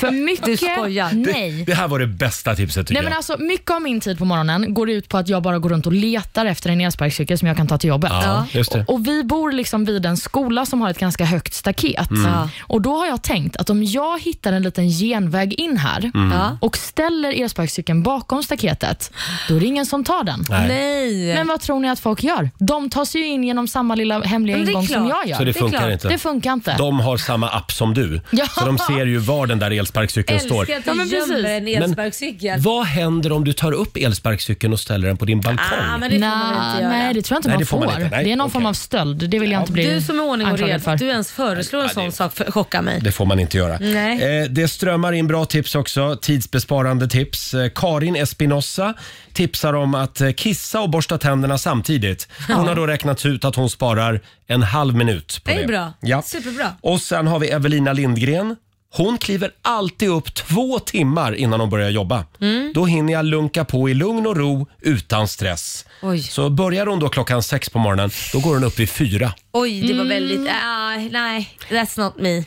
S3: för mycket...
S2: Du skojar.
S3: Nej.
S1: Det här var det bästa tipset tycker
S3: Nej, men alltså, mycket av min tid på morgonen går ut på att jag bara går runt och letar efter en elsparkcykel som jag kan ta till jobbet.
S1: jag. Ja, just det.
S3: alltså, Och Vi bor liksom vid en skola som har ett ganska högt staket.
S1: Mm.
S3: Och Då har jag tänkt att om jag hittar en liten genväg in här
S1: Mm.
S2: Ja.
S3: och ställer elsparkcykeln bakom staketet, då är det ingen som tar den.
S1: Nej.
S2: Nej.
S3: Men vad tror ni att folk gör? De tar sig ju in genom samma lilla hemliga
S2: Men det är
S3: ingång som
S2: klart.
S3: jag gör.
S1: Så det
S2: det är
S1: funkar
S2: klart.
S1: inte.
S3: Det funkar inte.
S1: De har samma app som du,
S3: Ja.
S1: så de ser ju var den där elsparkcykeln står.
S2: Älskar att
S3: Ja,
S2: du
S3: men precis.
S2: gömmer en
S1: Men
S2: elsparkcykel.
S1: Vad händer om du tar upp elsparkcykeln och ställer den på din balkong?
S2: Ah, men det får man väl inte
S3: Nej,
S2: göra.
S3: nej, det tror jag inte
S1: Nej, det
S3: man
S1: får
S3: får.
S1: man inte. Nej,
S3: det är någon
S1: okej.
S3: form av stöld. Det vill jag inte bli
S2: Du som är ordning och
S3: anklagad
S2: reda,
S3: för.
S2: att du ens föreslår en sån sak för, chockar mig.
S1: Det får man inte göra.
S2: Nej.
S1: Eh, det strömmar in bra tips också. Tidsbesparande tips. Eh, Karin Espinosa tipsar om att eh, kissa och borsta tänderna samtidigt. Hon har då räknat ut att hon sparar en halv minut. På det,
S2: Det är bra.
S1: Ja.
S2: Superbra.
S1: Och sen har vi Evelina Lindgren. Hon kliver alltid upp två timmar innan hon börjar jobba.
S2: Mm.
S1: Då hinner jag lunka på i lugn och ro utan stress.
S2: Oj.
S1: Så börjar hon då klockan sex på morgonen, då går hon upp vid fyra.
S2: Oj, det var väldigt...
S3: Mm.
S2: ah, nej, that's not me.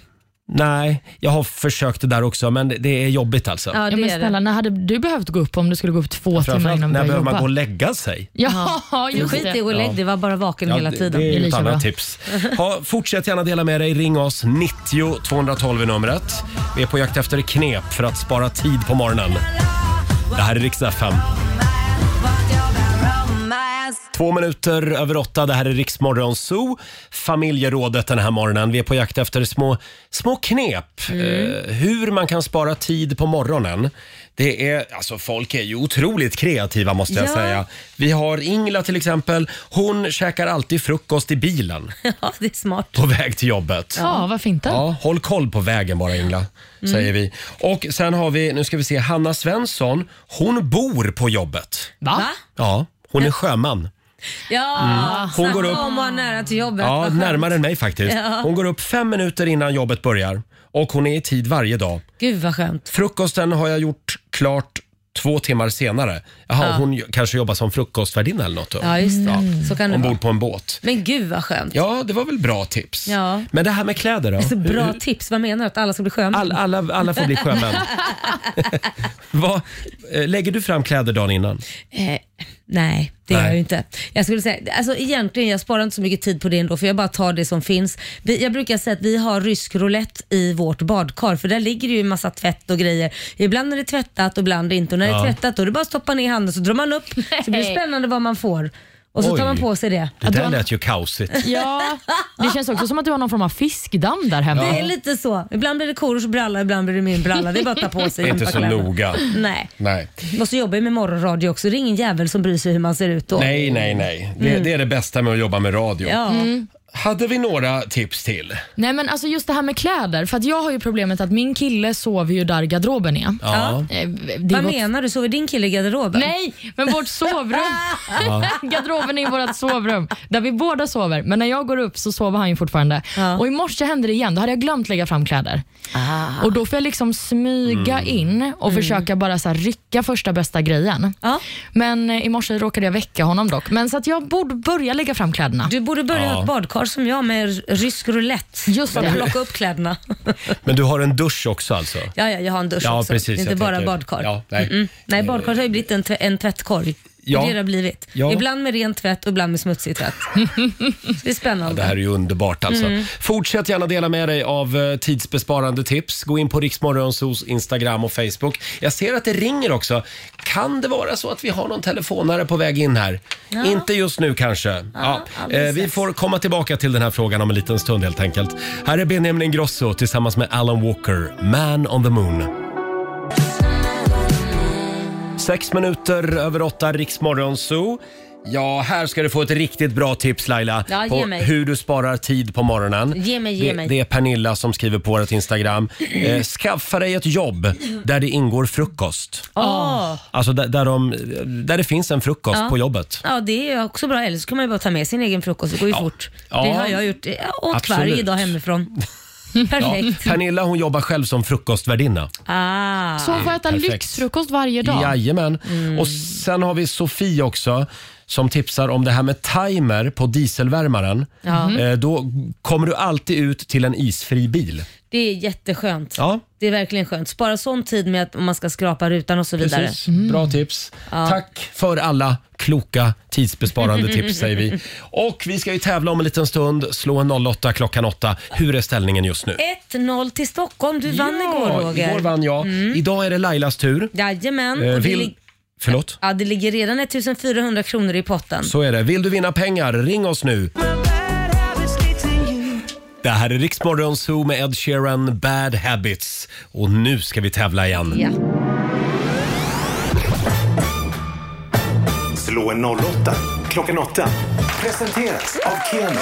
S1: Nej, jag har försökt det där också, men det är jobbigt alltså.
S2: Ja,
S3: Ja,
S2: det
S3: men
S2: är det.
S3: snälla, när hade du behövt gå upp om du skulle gå upp två timmar
S1: Framförallt
S3: innan du
S1: när
S3: började
S1: behöver man
S3: jobba?
S1: gå och lägga sig?
S3: Ja, just
S2: Skit i
S3: det.
S2: att gå och lägg dig, var bara vaken hela
S1: det-
S2: tiden.
S1: Det är
S3: Det
S1: ju
S3: är
S1: ett
S3: lika bra.
S1: annat tips. Ha, fortsätt gärna dela med dig. Ring oss. 90 212 är numret. Vi är på jakt efter knep för att spara tid på morgonen. Det här är riksdag 5. Två minuter över åtta. Det här är Riksmorgon Zoo. Familjerådet den här morgonen. Vi är på jakt efter små, små knep. Eh, hur man kan spara tid på morgonen. Det är, alltså folk är ju otroligt kreativa måste jag
S2: Ja.
S1: säga. Vi har Ingla till exempel. Hon käkar alltid frukost i bilen
S2: Ja, det är smart.
S1: på väg till jobbet.
S3: Ja, varför inte?
S1: Ja, håll koll på vägen bara Ingla, säger vi. Och sen har vi, nu ska vi se, Hanna Svensson. Hon bor på jobbet.
S3: Va?
S1: Ja, hon är sjöman.
S2: Ja,
S1: Hon
S2: snacka
S1: går upp-
S2: om att vara nära till jobbet.
S1: Mm. Ja,
S2: Vad skönt.
S1: närmare än mig faktiskt. Hon går upp fem minuter innan jobbet börjar och hon är i tid varje dag.
S2: Gud vad skönt.
S1: Frukosten har jag gjort klart två timmar senare. Jaha, hon ju- kanske jobbar som frukostvärdinna eller något då.
S2: Ja, mm. just det. Så kan det vara.
S1: Ombord på en båt.
S2: Men gud vad skönt.
S1: Mm. Ja, det var väl bra tips.
S2: Ja.
S1: Men det här med kläder då?
S2: Så
S1: Hur-
S2: bra tips. Vad menar du? Att alla ska bli sköna?
S1: All, alla, alla får bli sjömän. Vad, eh, lägger du fram kläder dagen innan?
S2: Eh, nej, det
S1: Nej.
S2: gör jag ju inte. Jag skulle säga, alltså egentligen, jag sparar inte så mycket tid på det ändå för jag bara tar det som finns. Vi, jag brukar säga att vi har rysk roulette i vårt badkar för där ligger det ju en massa tvätt och grejer. Ibland är det tvättat och ibland inte. Och när det är tvättat då är det bara att stoppa ner handen så drar man upp så blir det spännande vad man får. Och så
S1: Oj.
S2: tar man på sig det.
S1: Det där lät ju kaosigt.
S3: Ja, det känns också som att du har någon form av fiskdamm där hemma.
S2: Det är lite så. Ibland blir det korors bralla, ibland blir det min bralla. Det är bara att ta på sig.
S1: Inte
S2: ett par
S1: så
S2: kläder.
S1: noga.
S2: Nej.
S1: Nej.
S2: Och så jobbar jag med morgonradio också. Det är ingen jävel som bryr sig hur man ser ut då.
S1: Nej, nej, nej. Det,
S2: Mm.
S1: det är det bästa med att jobba med radio.
S2: Ja.
S1: Hade vi några tips till?
S3: Nej men alltså just det här med kläder, för att jag har ju problemet att min kille sover ju där garderoben är.
S1: Ja.
S3: Eh, Det är
S2: Vad
S3: vårt-
S2: menar du? Sover din kille i garderoben?
S3: Nej, men vårt sovrum. Garderoben är vårt sovrum där vi båda sover. Men när jag går upp så sover han ju fortfarande. Och i morse hände det igen. Då hade jag glömt lägga fram kläder. Och Då får jag liksom smyga
S1: Mm.
S3: in och försöka bara så här rycka första bästa grejen.
S2: Ja.
S3: Men eh, i morse råkade jag väcka honom dock. Men så att jag borde börja lägga fram kläderna.
S2: Du borde börja ha ett badkar som jag med r- rysk roulette.
S3: Just
S2: Bara
S3: det.
S2: plocka upp kläderna.
S1: Men du har en dusch också alltså?
S2: Ja, ja, jag har en dusch
S1: Ja,
S2: också.
S1: precis,
S2: det är inte
S1: jag
S2: bara
S1: tänker-
S2: badkar.
S1: Ja, nej.
S2: Mm-mm. nej badkar har ju blivit en, tv- en tvättkorg.
S1: Ja.
S2: Det är det har blivit.
S1: Ja.
S2: Ibland med ren tvätt och ibland med smutsig tvätt. det är spännande.
S1: Det här är ju underbart alltså.
S2: Mm.
S1: Fortsätt gärna dela med dig av eh, tidsbesparande tips. Gå in på Riksmorgonsos Instagram och Facebook. Jag ser att det ringer också. Kan det vara så att vi har någon telefonare på väg in här? Inte just nu kanske. Ja,
S2: alldeles
S1: eh, vi
S2: strax.
S1: får komma tillbaka till den här frågan om en liten stund helt enkelt. Här är Benjamin Ingrosso tillsammans med Alan Walker, Man on the Moon. Sex minuter över åtta, Riksmorgon Zoo. Ja, här ska du få ett riktigt bra tips Laila
S2: Ja, ge
S1: på
S2: mig.
S1: hur du sparar tid på morgonen.
S2: Ge mig, ge
S1: det,
S2: mig.
S1: det är Pernilla som skriver på vårt Instagram. Eh, skaffa dig ett jobb där det ingår frukost.
S3: Ah.
S2: Åh.
S1: Alltså där, där, de, där det finns en frukost
S2: Ja.
S1: på jobbet.
S2: Ja, det är också bra. Eller så kan man ju bara ta med sin egen frukost. Det går ju fort.
S1: Ja.
S2: Det har jag gjort. Jag åt
S1: Absolut.
S2: varje dag hemifrån. Perfekt.
S1: Pernilla hon jobbar själv som frukostvärdinna.
S2: Ah.
S3: Så får jag äta
S1: perfekt.
S3: lyxfrukost varje dag.
S1: Jajamän.
S2: Mm.
S1: Och sen har vi Sofie också som tipsar om det här med timer på dieselvärmaren. Eh, Då kommer du alltid ut till en isfri bil.
S2: Det är jätteskönt.
S1: Ja,
S2: Det är verkligen skönt. Spara sån tid med att om man ska skrapa rutan och så vidare. Mm.
S1: precis. Bra tips. Tack för alla kloka tidsbesparande tips säger vi. Och vi ska ju tävla om en liten stund. Slå en 08 klockan 8. Hur är ställningen just nu?
S2: 1-0 till Stockholm. Du vann igår Roger.
S1: igår vann jag. Idag är det Lailas tur.
S2: Jajamän.
S1: Eh,
S2: och det,
S1: Vill...
S2: lig-
S1: Förlåt?
S2: ja, det ligger redan 1400 kronor i potten.
S1: Så är det. Vill du vinna pengar? Ring oss nu. Det här är Riksmorgon Zoo med Ed Sheeran, Bad Habits. Och nu ska vi tävla igen.
S2: Ja.
S4: Slå en 08 klockan åtta. Presenteras av Keno.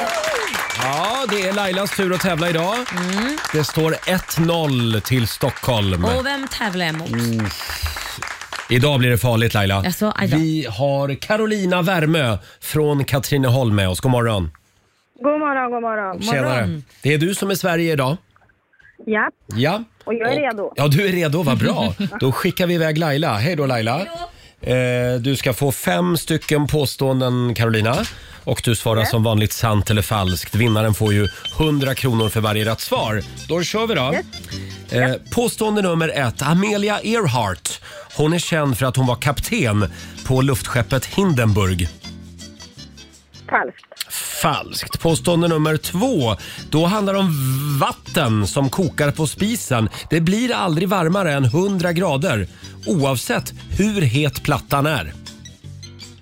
S1: Ja, det är Lailas tur att tävla idag.
S2: Mm.
S1: Det står 1-0 till Stockholm.
S2: Och vem tävlar jag mot?
S1: Mm. Idag blir det farligt Laila.
S2: Jaså, aj då.
S1: Vi har Carolina Värmö från Katrineholm med oss. God morgon.
S5: God morgon, god morgon.
S1: Tjenare. Det är du som är Sverige idag.
S5: Ja,
S1: Ja.
S5: och jag är redo.
S1: Ja, du är redo. Vad bra. Då skickar vi iväg Laila. Hej då Laila. Eh, du ska få fem stycken påståenden Carolina. Och du svarar som vanligt sant eller falskt. Vinnaren får ju 100 kronor för varje rätt svar. Då kör vi då. Eh, påstående nummer ett. Amelia Earhart. Hon är känd för att hon var kapten på luftskeppet Hindenburg.
S5: Falskt.
S1: Falskt. Påstående nummer två. Då handlar det om vatten som kokar på spisen. Det blir aldrig varmare än 100 grader oavsett hur het plattan är.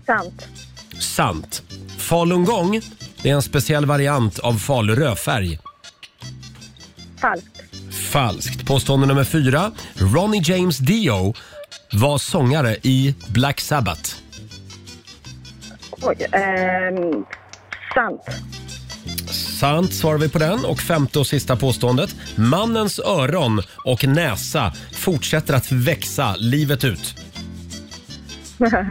S5: Sant.
S1: Sant. Falungong det är en speciell variant av falurödfärg.
S5: Falskt.
S1: Falskt. Påstående nummer fyra. Ronnie James Dio var sångare i Black Sabbath.
S5: Oj. ehm, sant.
S1: Sant svarar vi på den. Och femte och sista påståendet. Mannens öron och näsa fortsätter att växa livet ut.
S5: Eh,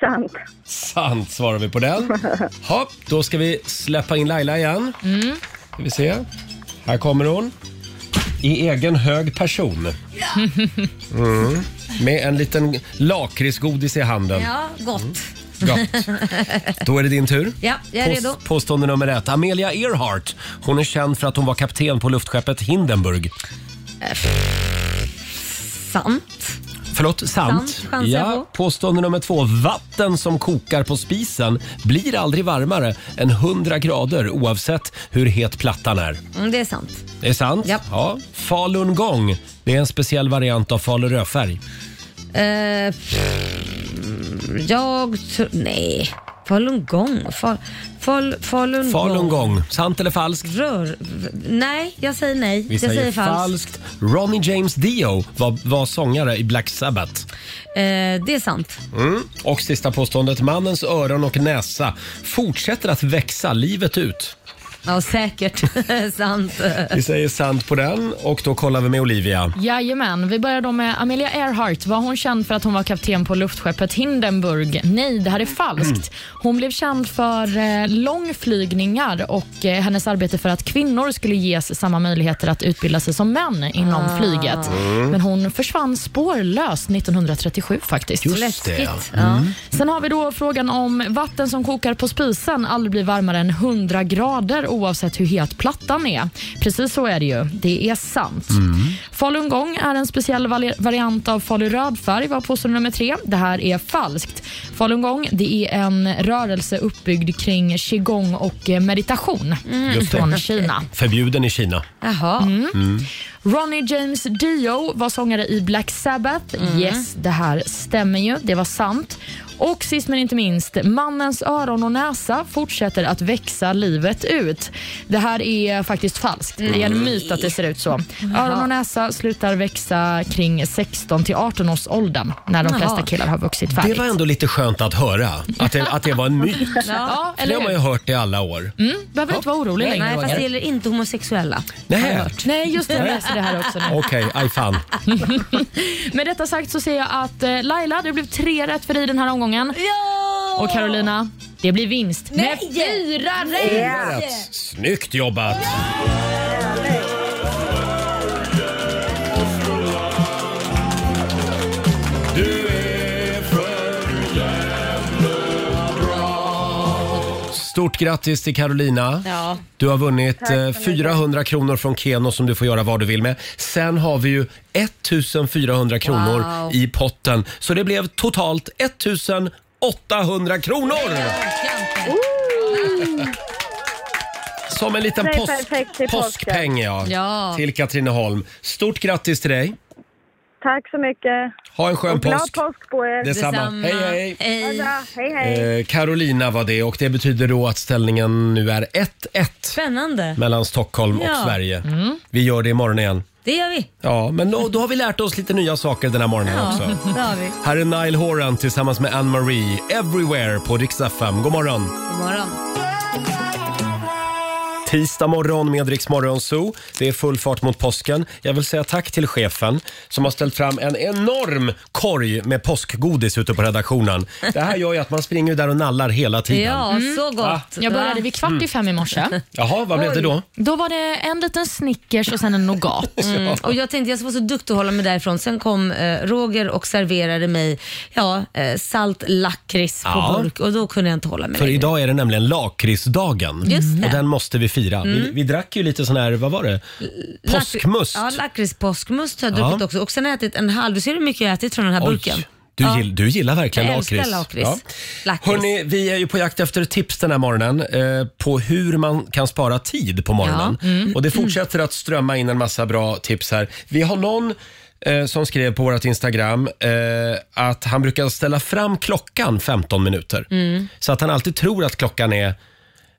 S5: sant.
S1: Sant svarar vi på den. Hopp, då ska vi släppa in Laila igen.
S2: Mm.
S1: Ska vi se. Här kommer hon. I egen hög person. Mm. Med en liten lakritsgodis i handen.
S2: Ja, gott.
S1: Mm. Gott. Då är det din tur.
S2: Ja, jag är
S1: Pås-
S2: redo.
S1: Påstående nummer ett. Amelia Earhart. Hon är känd för att hon var kapten på luftskeppet Hindenburg.
S2: Sant.
S1: Förlåt, sant.
S2: Sant, chansar jag
S1: ja, påstående nummer två. Vatten som kokar på spisen blir aldrig varmare än 100 grader oavsett hur het plattan är.
S2: Mm, det är sant.
S1: Det är sant.
S2: Ja.
S1: Ja. Falun gong. Det är en speciell variant av Falu rödfärg.
S2: Mm. Eh, pff, jag tror... Nej. Falungong. Fal, fal, falungong.
S1: Falun gong. Sant eller falskt?
S2: Rör... Nej, jag säger nej.
S1: Vi
S2: jag
S1: säger,
S2: säger, falskt.
S1: falskt. Ronnie James Dio var, var sångare i Black Sabbath.
S2: Eh, det är sant.
S1: Mm. Och sista påståendet. Mannens öron och näsa fortsätter att växa livet ut.
S2: Ja, säkert. sant.
S1: Vi säger sant på den och då kollar vi med Olivia.
S3: Jajamän, vi börjar då med Amelia Earhart. Var hon känd för att hon var kapten på luftskeppet Hindenburg? Nej, det här är falskt. Hon blev känd för eh, långflygningar och eh, hennes arbete för att kvinnor skulle ges samma möjligheter att utbilda sig som män inom flyget. Men hon försvann spårlöst 1937 faktiskt.
S1: Just det. Mm.
S2: Läskigt. Ja.
S3: Sen har vi då frågan om vatten som kokar på spisen aldrig blir varmare än 100 grader oavsett hur het plattan är. Precis så är det ju. Det är sant.
S1: Mm.
S3: Falungong är en speciell val- variant av falu rödfärg var påstående nummer tre. Det här är falskt. Falungong det är en rörelse uppbyggd kring qigong och eh, meditation
S1: Just det.
S3: från Kina.
S1: Förbjuden i Kina.
S2: Jaha.
S3: Ronnie James Dio var sångare i Black Sabbath.
S2: Mm.
S3: Yes, det här stämmer ju. Det var sant. Och sist men inte minst, mannens öron och näsa fortsätter att växa livet ut. Det här är faktiskt falskt. Det är
S2: Mm.
S3: en myt att det ser ut så. Öron och näsa slutar växa kring 16 till 18 års åldern när de
S2: Jaha.
S3: flesta killar har vuxit
S1: Det
S3: färdigt.
S1: var ändå lite skönt att höra att det, att det var en myt.
S3: Ja,
S1: Det
S3: eller
S1: har man ju
S3: hur? Mm.
S1: hört i alla år.
S3: Behöver inte vara orolig längre,
S2: Nej, fast det
S3: Roger.
S2: gäller inte homosexuella.
S1: Nej.
S3: Nej, just det. Jag läser det här också nu.
S1: Okej, aj fan.
S3: Med detta sagt så ser jag att eh, Laila, det blev tre rätt för dig den här omgången.
S2: Ja!
S3: Och Carolina, det blir vinst med fyra rätt.
S1: Snyggt jobbat! Du är för jävla bra. Stort grattis till Carolina.
S2: Ja.
S1: Du har vunnit eh, 400 kronor från Keno som du får göra vad du vill med. Sen har vi ju 1400 kronor
S2: Wow.
S1: i potten. Så det blev totalt 1800 kronor! Som en liten
S5: Det är
S1: påsk,
S5: perfekt till påsken.
S1: påskpeng ja,
S2: Ja.
S1: till Katrineholm. Stort grattis till dig!
S8: Tack så mycket.
S1: Ha en skön
S8: Och glad
S1: påsk.
S8: påsk på er.
S1: Detsamma. Hej,
S2: eh,
S1: hej.
S8: Ha det
S2: hej.
S8: bra. Hej, hej.
S1: Eh, Carolina var det och det betyder då att ställningen nu är 1-1
S2: Spännande.
S1: mellan Stockholm och
S2: Ja.
S1: Sverige. Vi gör det imorgon igen.
S2: Det gör vi.
S1: Ja, men då, då har vi lärt oss lite nya saker den här morgonen också.
S2: det har vi.
S1: Här är Nile Horan tillsammans med Anne-Marie, Everywhere på Rix FM. God morgon!
S2: God morgon.
S1: Tisdag morgon med Rix Morgon Zoo. Det är full fart mot påsken. Jag vill säga tack till chefen som har ställt fram en enorm korg med påskgodis ute på redaktionen. Det här gör ju att man springer där och nallar hela tiden.
S2: Ja, så
S1: Ah.
S2: gott.
S3: Jag började vid kvart
S1: Mm.
S3: i fem i morse.
S1: Jaha, vad blev det då?
S3: Då var det en liten Snickers och sen en nougat.
S2: Mm, och jag tänkte jag ska vara så duktig att hålla mig därifrån. Sen kom eh, Roger och serverade mig ja, eh, salt lakrits på
S1: Ja.
S2: burk och då kunde jag inte hålla mig
S1: För
S2: längre.
S1: idag är det nämligen lakritsdagen.
S2: Just det.
S1: Och den måste vi fira. Vi, vi drack ju lite sån här, vad var det? Påskmust.
S2: Lak- ja, lakritspåskmust har jag
S1: Ja.
S2: druckit också. Och sen har jag ätit en halv. Du ser hur mycket jag har ätit från den här burken.
S1: Oj, du, gill, du gillar verkligen
S2: Jag älskar
S1: lakrits.
S2: lakrits. Lakrits.
S1: Hörrni, vi är ju på jakt efter tips den här morgonen eh, på hur man kan spara tid på morgonen.
S2: Mm.
S1: Och det fortsätter att strömma in en massa bra tips här. Vi har någon eh, som skrev på vårt Instagram eh, att han brukar ställa fram klockan 15 minuter.
S2: Mm.
S1: Så att han alltid tror att klockan är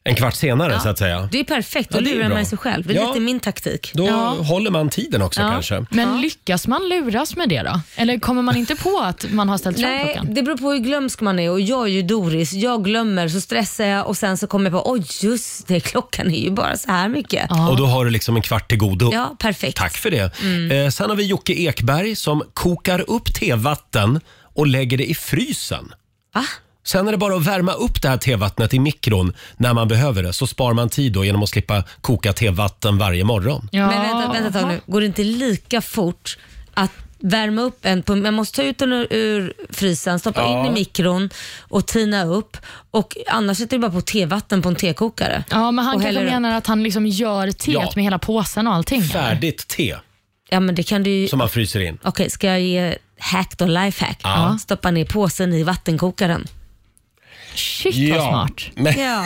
S1: en kvart senare så att säga.
S2: Det är perfekt,
S1: Ja,
S2: då
S1: det är
S2: lurar
S1: bra.
S2: man sig själv. Det är
S1: Ja.
S2: lite min taktik.
S1: Då
S3: Ja.
S1: håller man tiden också
S2: Ja.
S1: kanske.
S3: Men lyckas man luras med det då? Eller kommer man inte på att man har ställt fram
S2: Nej,
S3: klockan?
S2: det beror på hur glömsk man är och jag är ju Doris. Jag glömmer så stressar jag och sen så kommer jag på, oj just det, klockan är ju bara så här mycket. Ja,
S1: Och då har du liksom en kvart till godo.
S2: perfekt. Mm.
S1: Tack för det. Eh, sen har vi Jocke Ekberg som kokar upp tevatten och lägger det i frysen.
S2: Va?
S1: Sen är det bara att värma upp det här tevattnet i mikron när man behöver det. Så sparar man tid då genom att slippa koka tevatten varje morgon.
S3: Ja.
S2: Men vänta, vänta ett tag nu. Går det inte lika fort att värma upp en pump? Man måste ta ut den ur, ur frysen, stoppa
S1: Ja.
S2: in i mikron och tina upp. Och annars sätter du bara på tevatten på en tekokare.
S3: Ja, men han
S2: Och
S3: kanske
S2: häller upp.
S3: menar att han liksom gör teet
S1: Ja.
S3: med hela påsen och allting.
S1: Färdigt te
S2: Ja, men det kan du ju...
S1: som man fryser in.
S2: Okej, ska jag ge hack då, lifehack?
S1: Ja.
S2: Stoppa ner påsen i vattenkokaren.
S3: Shit vad
S1: Ja.
S3: smart.
S1: Men,
S2: Ja,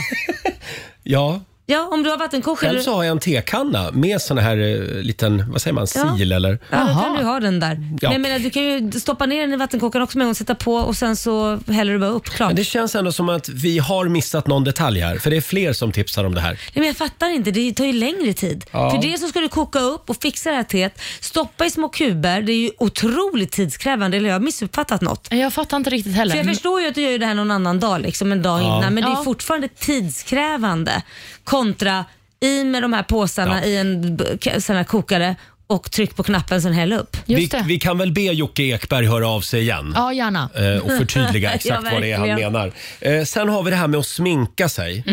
S1: ja.
S2: ja om du har vattenkokare.
S1: Själv så har jag en tekanna med sån här eh, liten, vad säger man,
S2: Ja.
S1: sil eller?
S2: Ja, då kan
S3: Jaha.
S2: du ha den där.
S1: Ja.
S2: Men jag menar, du kan ju stoppa ner den i vattenkokaren också med en gång, sätta på och sen så häller du bara upp. Klart.
S1: Men det känns ändå som att vi har missat någon detalj här, för det är fler som tipsar om det här.
S2: Nej, men jag fattar inte, det tar ju längre tid.
S1: Ja.
S2: För det så ska du koka upp och fixa det här teet, stoppa i små kuber, det är ju otroligt tidskrävande, eller jag har missuppfattat något.
S3: Jag fattar inte riktigt heller.
S2: För jag förstår ju att du gör ju det här någon annan dag, liksom en dag innan, men det är
S3: Ja.
S2: fortfarande tidskrävande kontra i med de här påsarna
S1: Ja.
S2: i en b- k- sån här kokare och tryck på knappen sen häll upp.
S1: Vi,
S3: Just det.
S1: vi kan väl be Jocke Ekberg höra av sig igen?
S3: Ja, gärna.
S1: Eh, och förtydliga exakt
S2: Ja,
S1: vad det är han
S2: verkligen.
S1: menar. Eh, Sen har vi det här med att sminka sig.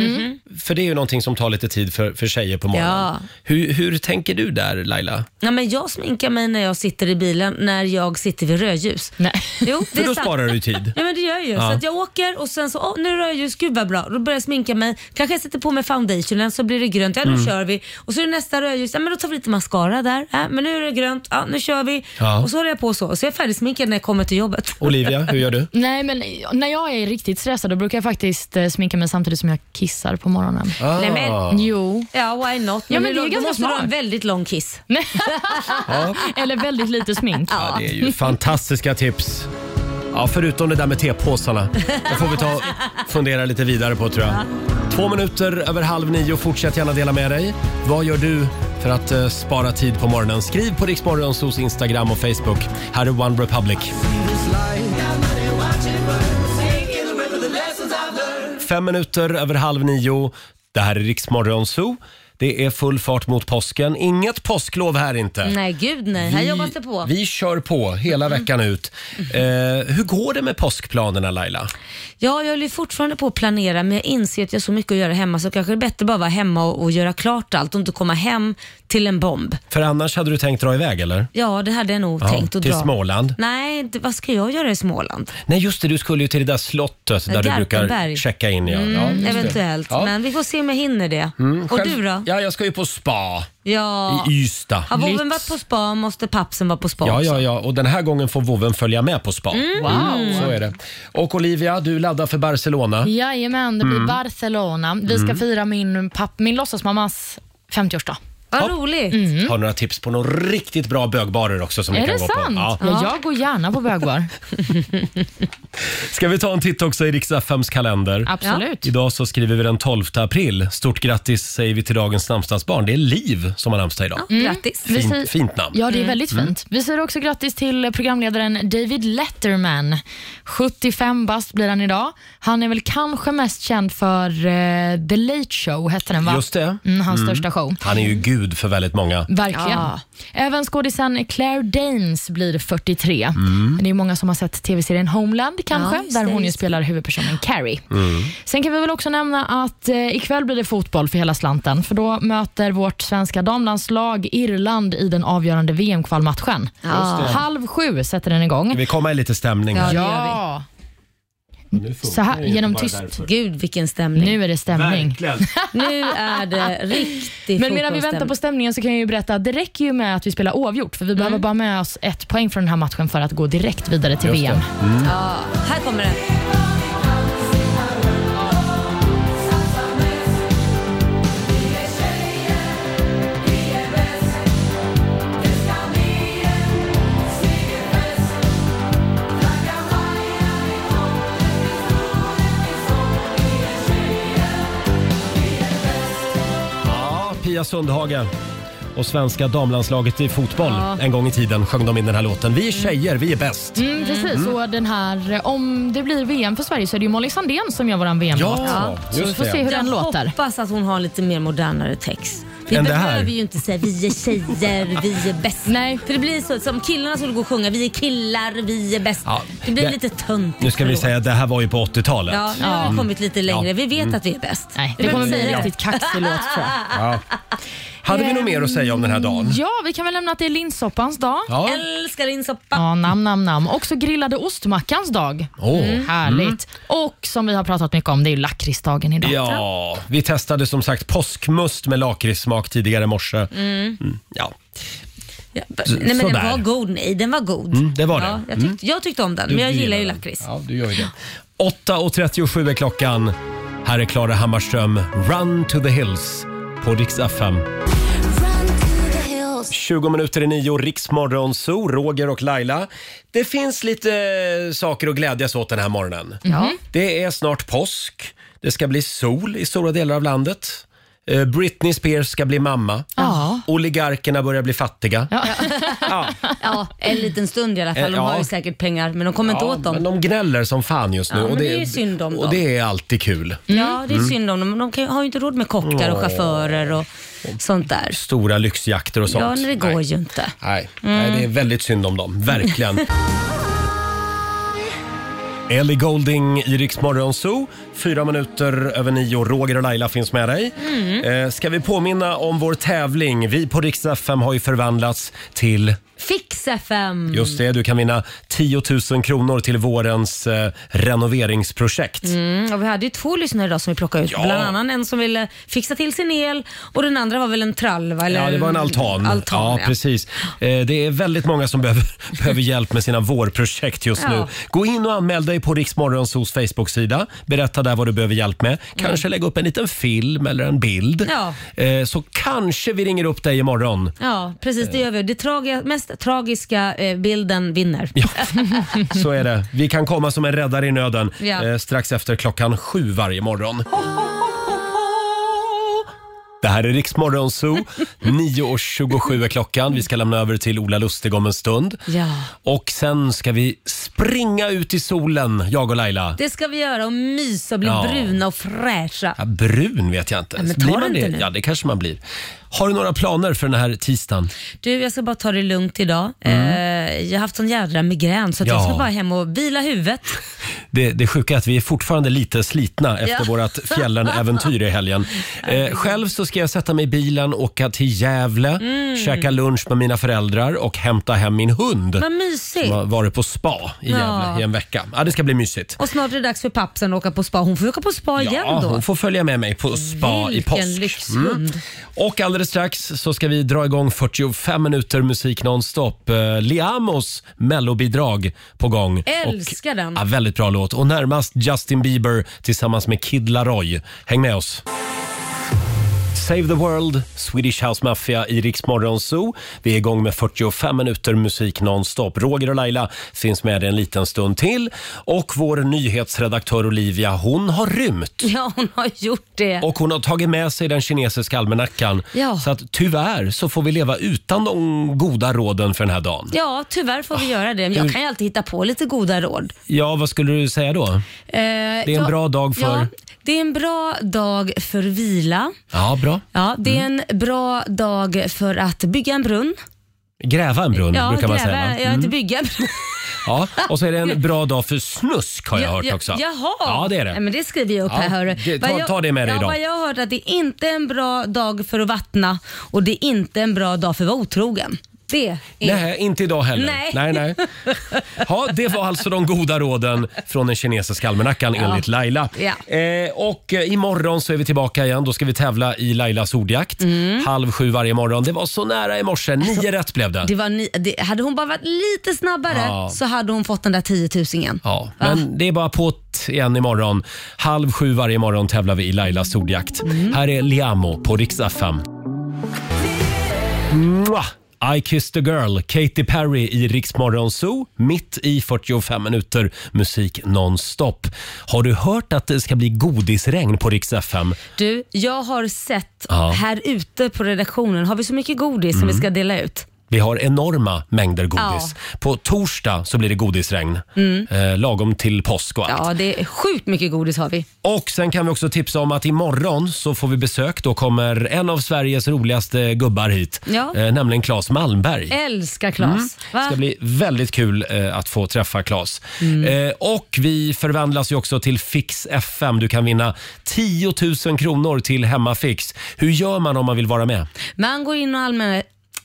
S1: För det är ju någonting som tar lite tid för, för tjejer på morgonen.
S2: Mm-hmm. Ja.
S1: Hur, hur tänker du där Laila?
S2: Ja, men jag sminkar mig när jag sitter i bilen när jag sitter vid rödljus.
S3: Nej.
S2: Jo, det
S1: För då
S2: är sant.
S1: sparar du ju tid.
S2: Ja men det gör jag ju. Så att jag åker och sen så, åh nu är det rödljus, gud vad bra. Då börjar jag sminka mig, kanske jag sätter på mig foundationen så blir det grönt, ja nu kör vi. Och så är det nästa rödljus, ja men då tar vi lite mascara där, ja, men nu är det grönt, ja nu kör vi.
S1: Ja.
S2: Och så håller jag på så. Så jag är färdigsminkad när jag kommer till jobbet.
S1: Olivia, hur gör du?
S3: Nej, men när jag är riktigt stressad då brukar jag faktiskt eh, sminka mig samtidigt som jag kissar på morgonen.
S2: Nej, men-
S1: Ah.
S3: Jo.
S2: Ja why not.
S3: Ja, men
S2: då-
S3: det är
S2: då
S3: ganska
S2: måste du ha en
S3: smart.
S2: väldigt lång kiss.
S3: Eller väldigt lite smink.
S1: Ja, det är ju fantastiska tips. Ja, förutom det där med tepåsarna. Det får vi ta och fundera lite vidare på tror jag. Två minuter över halv nio. Fortsätt gärna dela med dig. Vad gör du för att eh, spara tid på morgonen? Skriv på Riksmorgonsos Instagram och Facebook. Här är One Republic. Fem minuter över halv nio. Det här är Riksmorgonso. Det är full fart mot påsken. Inget påsklov här inte.
S2: Nej gud nej, här jobbas det på. Mm.
S1: Vi kör på hela veckan ut. Eh, hur går det med påskplanerna Laila?
S2: Ja, jag håller ju fortfarande på att planera men jag inser att jag har så mycket att göra hemma så kanske det är bättre bara att vara hemma och, och göra klart allt och inte komma hem till en bomb.
S1: För annars hade du tänkt dra iväg eller?
S2: Ja, det hade jag nog tänkt att
S1: till
S2: dra.
S1: Småland.
S2: Nej, det, vad ska jag göra i Småland?
S1: Nej just det, du skulle ju till det där slottet där du brukar
S2: Garpenberg. Mm,
S1: checka in. Ja. ja, just det.
S2: Eventuellt,
S1: Ja. Mm,
S2: men vi får se om jag hinner det. och
S1: Själv-
S2: du då?
S1: Ja, jag ska ju på spa
S2: Ja.
S1: i Ystad.
S2: Har vovven
S1: Lyx.
S2: varit på spa måste pappsen vara på spa
S1: Ja,
S2: också. Mm.
S1: ja, ja. Och den här gången får vovven följa med på spa. Mm,
S3: Wow.
S1: Så är det. Och Olivia, du laddar för Barcelona. Mm.
S3: Jajamän, det blir Barcelona. Vi ska fira min, papp, min låtsasmammas 50-årsdag.
S2: Vad
S1: Ja.
S2: roligt.
S3: Mm.
S1: Har några tips på några riktigt bra bögbarer också som ni
S3: Är
S1: kan
S3: det
S1: gå på.
S3: sant? Ja.
S1: Ja.
S3: jag går gärna på bögbar.
S1: Ska vi ta en titt också i riks kalender?
S3: Absolut.
S1: Idag så skriver vi den 12 april. Stort grattis säger vi till dagens namnsdagsbarn. Det är Liv som har namnsdag idag.
S2: Grattis.
S3: Vi säger-
S1: Fint, fint namn. Mm.
S3: Ja, det är väldigt fint. Vi säger också grattis till programledaren David Letterman. 75 bast blir han idag. Han är väl kanske mest känd för eh, The Late Show, hette den va?
S1: Just det.
S3: Mm, hans största show.
S1: Han är ju gud för väldigt många.
S3: Verkligen. Även skådisen Claire Danes blir 43. Det är många som har sett tv-serien Homeland kanske,
S2: Mm. Ja, just
S3: där
S2: det,
S3: hon ju
S2: just det. Mm.
S3: spelar huvudpersonen Carrie. Sen kan vi väl också nämna att eh, ikväll blir det fotboll för hela slanten, för då möter vårt svenska damlandslag Irland i den avgörande VM-kvalmatchen. Halv sju sätter den igång.
S1: Ska vi komma i lite stämning här?
S2: Ja.
S3: Ja. Så här, genom tyst.
S2: Gud vilken stämning. Nu,
S3: Nu är det stämning.
S2: är det riktigt
S3: Men medan vi väntar på stämningen så kan jag ju berätta att det räcker ju med att vi spelar oavgjort för vi behöver
S2: Mm.
S3: bara med oss ett poäng från den här matchen för att gå direkt vidare till
S1: Just det.
S3: VM.
S2: Här kommer den.
S1: Ja, Pia Sundhage och svenska damlandslaget i fotboll en gång i tiden sjöng de in den här låten. Vi är tjejer, vi är bäst.
S3: Mm, precis, och den här, eh, om det blir VM för Sverige så är det ju Molly Sandén som gör våran VM-låt.
S1: Ja,
S3: så vi
S1: just
S3: får se
S1: det.
S3: hur
S2: Jag
S3: den låter.
S2: hoppas att hon har lite mer modernare text. Vi
S1: Än det här?
S2: behöver ju inte säga vi är tjejer, vi är bäst.
S3: Nej.
S2: För det blir så som killarna skulle gå och sjunga vi är killar, vi är bäst.
S1: Ja,
S2: det blir
S1: det-
S2: lite töntigt.
S1: Nu ska vi
S2: förlåt.
S1: säga att det här var ju på 80-talet.
S2: Ja, nu har vi kommit lite längre.
S1: Ja. Mm.
S2: Vi vet att vi är bäst.
S3: Nej,
S2: Vi
S3: det kommer
S2: behöver
S3: bli
S2: inte
S3: en
S2: säga det.
S3: riktigt kaxig låt tror jag.
S1: Hade vi något mer att säga om den här dagen?
S3: Ja, vi kan väl lämna att det är linssoppans dag.
S1: Ja.
S2: Älskar din soppa.
S3: Ja, namn, namn, namn. Också grillade ostmackans dag.
S1: Åh.
S3: Mm. Härligt. Och som vi har pratat mycket om, det är ju lakritsdagen idag.
S1: Ja, vi testade som sagt påskmust med lakritssmak tidigare i morse. Mm, Ja,
S2: Ja, b- Nej, men den
S1: sådär. Mm,
S2: var god. Nej, den var god.
S1: det var
S2: Ja,
S1: den.
S2: jag, tyckte, jag tyckte om den, men jag
S1: Du
S2: gillar ju
S1: den.
S2: lakrits.
S1: Ja, du gör ju det. 8.37 är klockan. Här är Klara Hammarström, Run to the Hills på Rix FM. 20 minuter i nio, Riksmorgon Zoo, Roger och Laila. Det finns lite eh, saker att glädjas åt den här morgonen. Det är snart påsk. Det ska bli sol i stora delar av landet. Eh, Britney Spears ska bli mamma.
S3: Ja.
S1: Oligarkerna börjar bli fattiga.
S2: Ja, en liten stund i alla fall. De
S1: Eh, Ja.
S2: har ju säkert pengar, men de kommer inte
S1: Ja,
S2: åt dem.
S1: Men de gnäller som fan just nu.
S2: Ja,
S1: och
S2: men det är ju synd om
S1: Och
S2: dem.
S1: det är alltid kul.
S2: Ja,
S1: Mm.
S2: det är synd om dem. men De kan, ju- har ju inte råd med kockar och chaufförer och sånt där.
S1: Stora lyxjakter och sånt.
S2: Ja, det går Mm.
S1: Nej.
S2: ju inte.
S1: Nej. Nej, det är väldigt synd om dem. Verkligen. Ellie Golding i Rix Morgon Zoo. Fyra minuter över nio. Roger och Laila finns med dig.
S2: Mm.
S1: Eh, ska vi påminna om vår tävling? Vi på Rix FM har ju förvandlats till
S2: Fixa fem!
S1: Just det, du kan vinna 10 000 kronor till vårens eh, renoveringsprojekt.
S2: Mm, och vi hade ju två lyssnare idag som vi plockade ut.
S1: Ja.
S2: Bland annat en som ville fixa till sin el och den andra var väl en tralva eller
S1: Ja, det var en altan.
S2: Eh, altan
S1: ja,
S2: ja.
S1: precis. Eh, Det är väldigt många som behöver, behöver hjälp med sina vårprojekt just
S2: Ja.
S1: nu. Gå in och anmäl dig på Riksmorgonsos Facebook-sida. Berätta där vad du behöver hjälp med. Kanske lägga upp en liten film eller en bild.
S2: Mm. Ja.
S1: Eh, Så kanske vi ringer upp dig imorgon.
S2: Ja, precis det gör vi. Det tragi- mest tragiska eh, bilden vinner. Ja.
S1: Så är det. Vi kan komma som en räddare i nöden
S2: Ja.
S1: eh, strax efter klockan sju varje morgon. Det här är Riksmorgon Zoo. 9.27 är klockan. Vi ska lämna över till Ola Lustig om en stund.
S2: Ja.
S1: Och sen ska vi springa ut i solen, jag och Laila.
S2: Det ska vi göra och mysa och bli
S1: Ja.
S2: bruna och fräscha.
S1: Ja, brun vet jag inte.
S2: men tar
S1: blir man
S2: det inte nu?
S1: Ja, det kanske man blir. Har du några planer för den här tisdagen?
S2: Du, jag ska bara ta det lugnt idag. Eh, jag har haft sån jädra migrän så att jag
S1: Mm. Ja.
S2: ska bara hem och vila huvudet.
S1: Det, det sjuka är att vi är fortfarande lite slitna efter
S2: Ja.
S1: vårt fjällen-äventyr i helgen. Eh, själv så ska jag sätta mig i bilen, åka till Gävle,
S2: Mm.
S1: käka lunch med mina föräldrar och hämta hem min hund.
S2: Vad mysigt.
S1: Som har varit på spa i Gävle
S2: Ja.
S1: i en vecka. Ja, det ska bli mysigt.
S2: Och snart är det dags för pappsen att åka på spa. Hon får ju åka på spa igen
S1: Ja,
S2: då.
S1: hon får följa med mig på spa i
S2: Vilken
S1: påsk. Mm.
S2: lyxhund.
S1: Och alldeles strax så ska vi dra igång 45 minuter musik nonstop. Eh, Liamos mellobidrag på gång.
S2: Älskar
S1: och,
S2: den.
S1: Ja, väldigt bra låt. Och närmast Justin Bieber tillsammans med Kid Laroi. Häng med oss. Save the World, Swedish House Mafia i Rix Morgon Zoo. Vi är igång med 45 minuter musik nonstop. Roger och Laila finns med en liten stund till. Och vår nyhetsredaktör Olivia, hon har rymt.
S2: Ja, hon har gjort det.
S1: Och hon har tagit med sig den kinesiska almanackan.
S2: Ja.
S1: Så att tyvärr så får vi leva utan de goda råden för den här dagen.
S2: Ja, tyvärr får vi göra det. Jag kan ju alltid hitta på lite goda råd.
S1: Ja, vad skulle du säga då?
S2: det är
S1: en bra dag för-
S2: Ja, det är en bra dag för vila.
S1: Ja, bra.
S2: Ja, det är
S1: Mm.
S2: en bra dag för att bygga en brunn.
S1: Gräva en brunn
S2: Ja,
S1: brukar man säga. va? Mm.
S2: gräva, ja, typ. inte bygga en brunn.
S1: Ja, och så är det en bra dag för snusk har jag
S2: Ja,
S1: hört
S2: ja,
S1: också.
S2: Jaha!
S1: Ja, det är det.
S2: Nej, men det skriver jag upp
S1: Ja,
S2: här hörru.
S1: det- ta-
S2: Vad jag-
S1: ta det med dig
S2: ja,
S1: idag.
S2: Vad jag har hört att det är inte en bra dag för att vattna och det är inte en bra dag för att vara otrogen. Det är...
S1: Nej, inte idag heller.
S2: Nej.
S1: nej. nej. Ja, det var alltså de goda råden från den kinesiska almanackan enligt Laila.
S2: Ja.
S1: Eh, och eh, imorgon så är vi tillbaka igen. Då ska vi tävla i Lailas ordjakt.
S2: Mm.
S1: Halv sju varje morgon. Det var så nära i morse.
S2: Alltså,
S1: Nio rätt blev det.
S2: Det var ni, det, hade hon bara varit lite snabbare
S1: Ja.
S2: så hade hon fått den där 10 000
S1: Ja, men det är bara på igen imorgon. Halv sju varje morgon tävlar vi i Lailas ordjakt. Här är Liamo på Rix FM. Mwah! I kissed a girl, Katy Perry i Rix Morgon Zoo, mitt i 45 minuter musik nonstop. Har du hört att det ska bli godisregn på Rix FM?
S2: Du, jag har sett
S1: Ja. Mm.
S2: här ute på redaktionen, har vi så mycket godis som vi ska dela ut?
S1: Vi har enorma mängder godis. På torsdag så blir det godisregn, eh, lagom till påsk och allt.
S2: Ja, det är sjukt mycket godis har vi.
S1: Och sen kan vi också tipsa om att imorgon så får vi besök. Då kommer en av Sveriges roligaste gubbar hit,
S2: Ja. Eh.
S1: eh, nämligen Claes Malmberg.
S2: Älskar Klas.
S1: Det Mm. ska
S2: Va?
S1: bli väldigt kul eh, att få träffa Claes. Eh, och vi förvandlas ju också till Fix FM. Du kan vinna 10 000 kronor till Hemmafix. Hur gör man om man vill vara med?
S2: Man går in och anmäler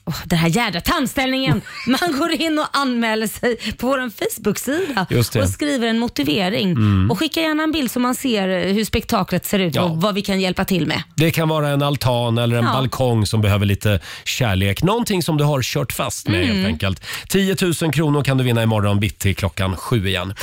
S2: Åh, den här jädra tandställningen! Man går in och anmäler sig på vår Facebook-sida
S1: Just det. Mm.
S2: och skriver en motivering. Och skicka gärna en bild så man ser hur spektaklet ser ut
S1: Ja.
S2: och vad vi kan hjälpa till med.
S1: Det kan vara en altan eller en
S2: Ja.
S1: balkong som behöver lite kärlek. Någonting som du har kört fast med
S2: Mm.
S1: helt enkelt. 10 000 kronor kan du vinna imorgon bitti klockan sju igen.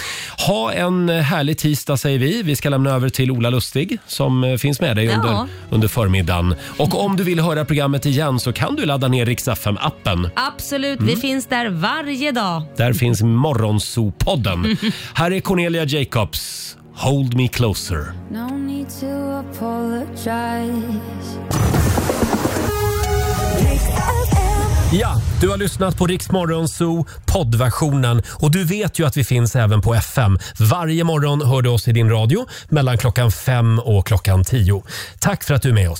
S1: Ha en härlig tisdag säger vi. Vi ska lämna över till Ola Lustig som eh, finns med dig
S2: Ja.
S1: under, under förmiddagen. Och om du vill höra programmet igen så kan du ladda ner Rix FM-appen.
S2: Absolut,
S1: Mm.
S2: vi finns där varje dag.
S1: Där finns Morgonzoo-podden. Här är Cornelia Jacobs. Hold me closer.
S8: No need to apologize.
S1: Ja, du har lyssnat på Rix Morgonzoo poddversionen och du vet ju att vi finns även på FM. Varje morgon hör du oss i din radio mellan klockan fem och klockan tio. Tack för att du är med oss.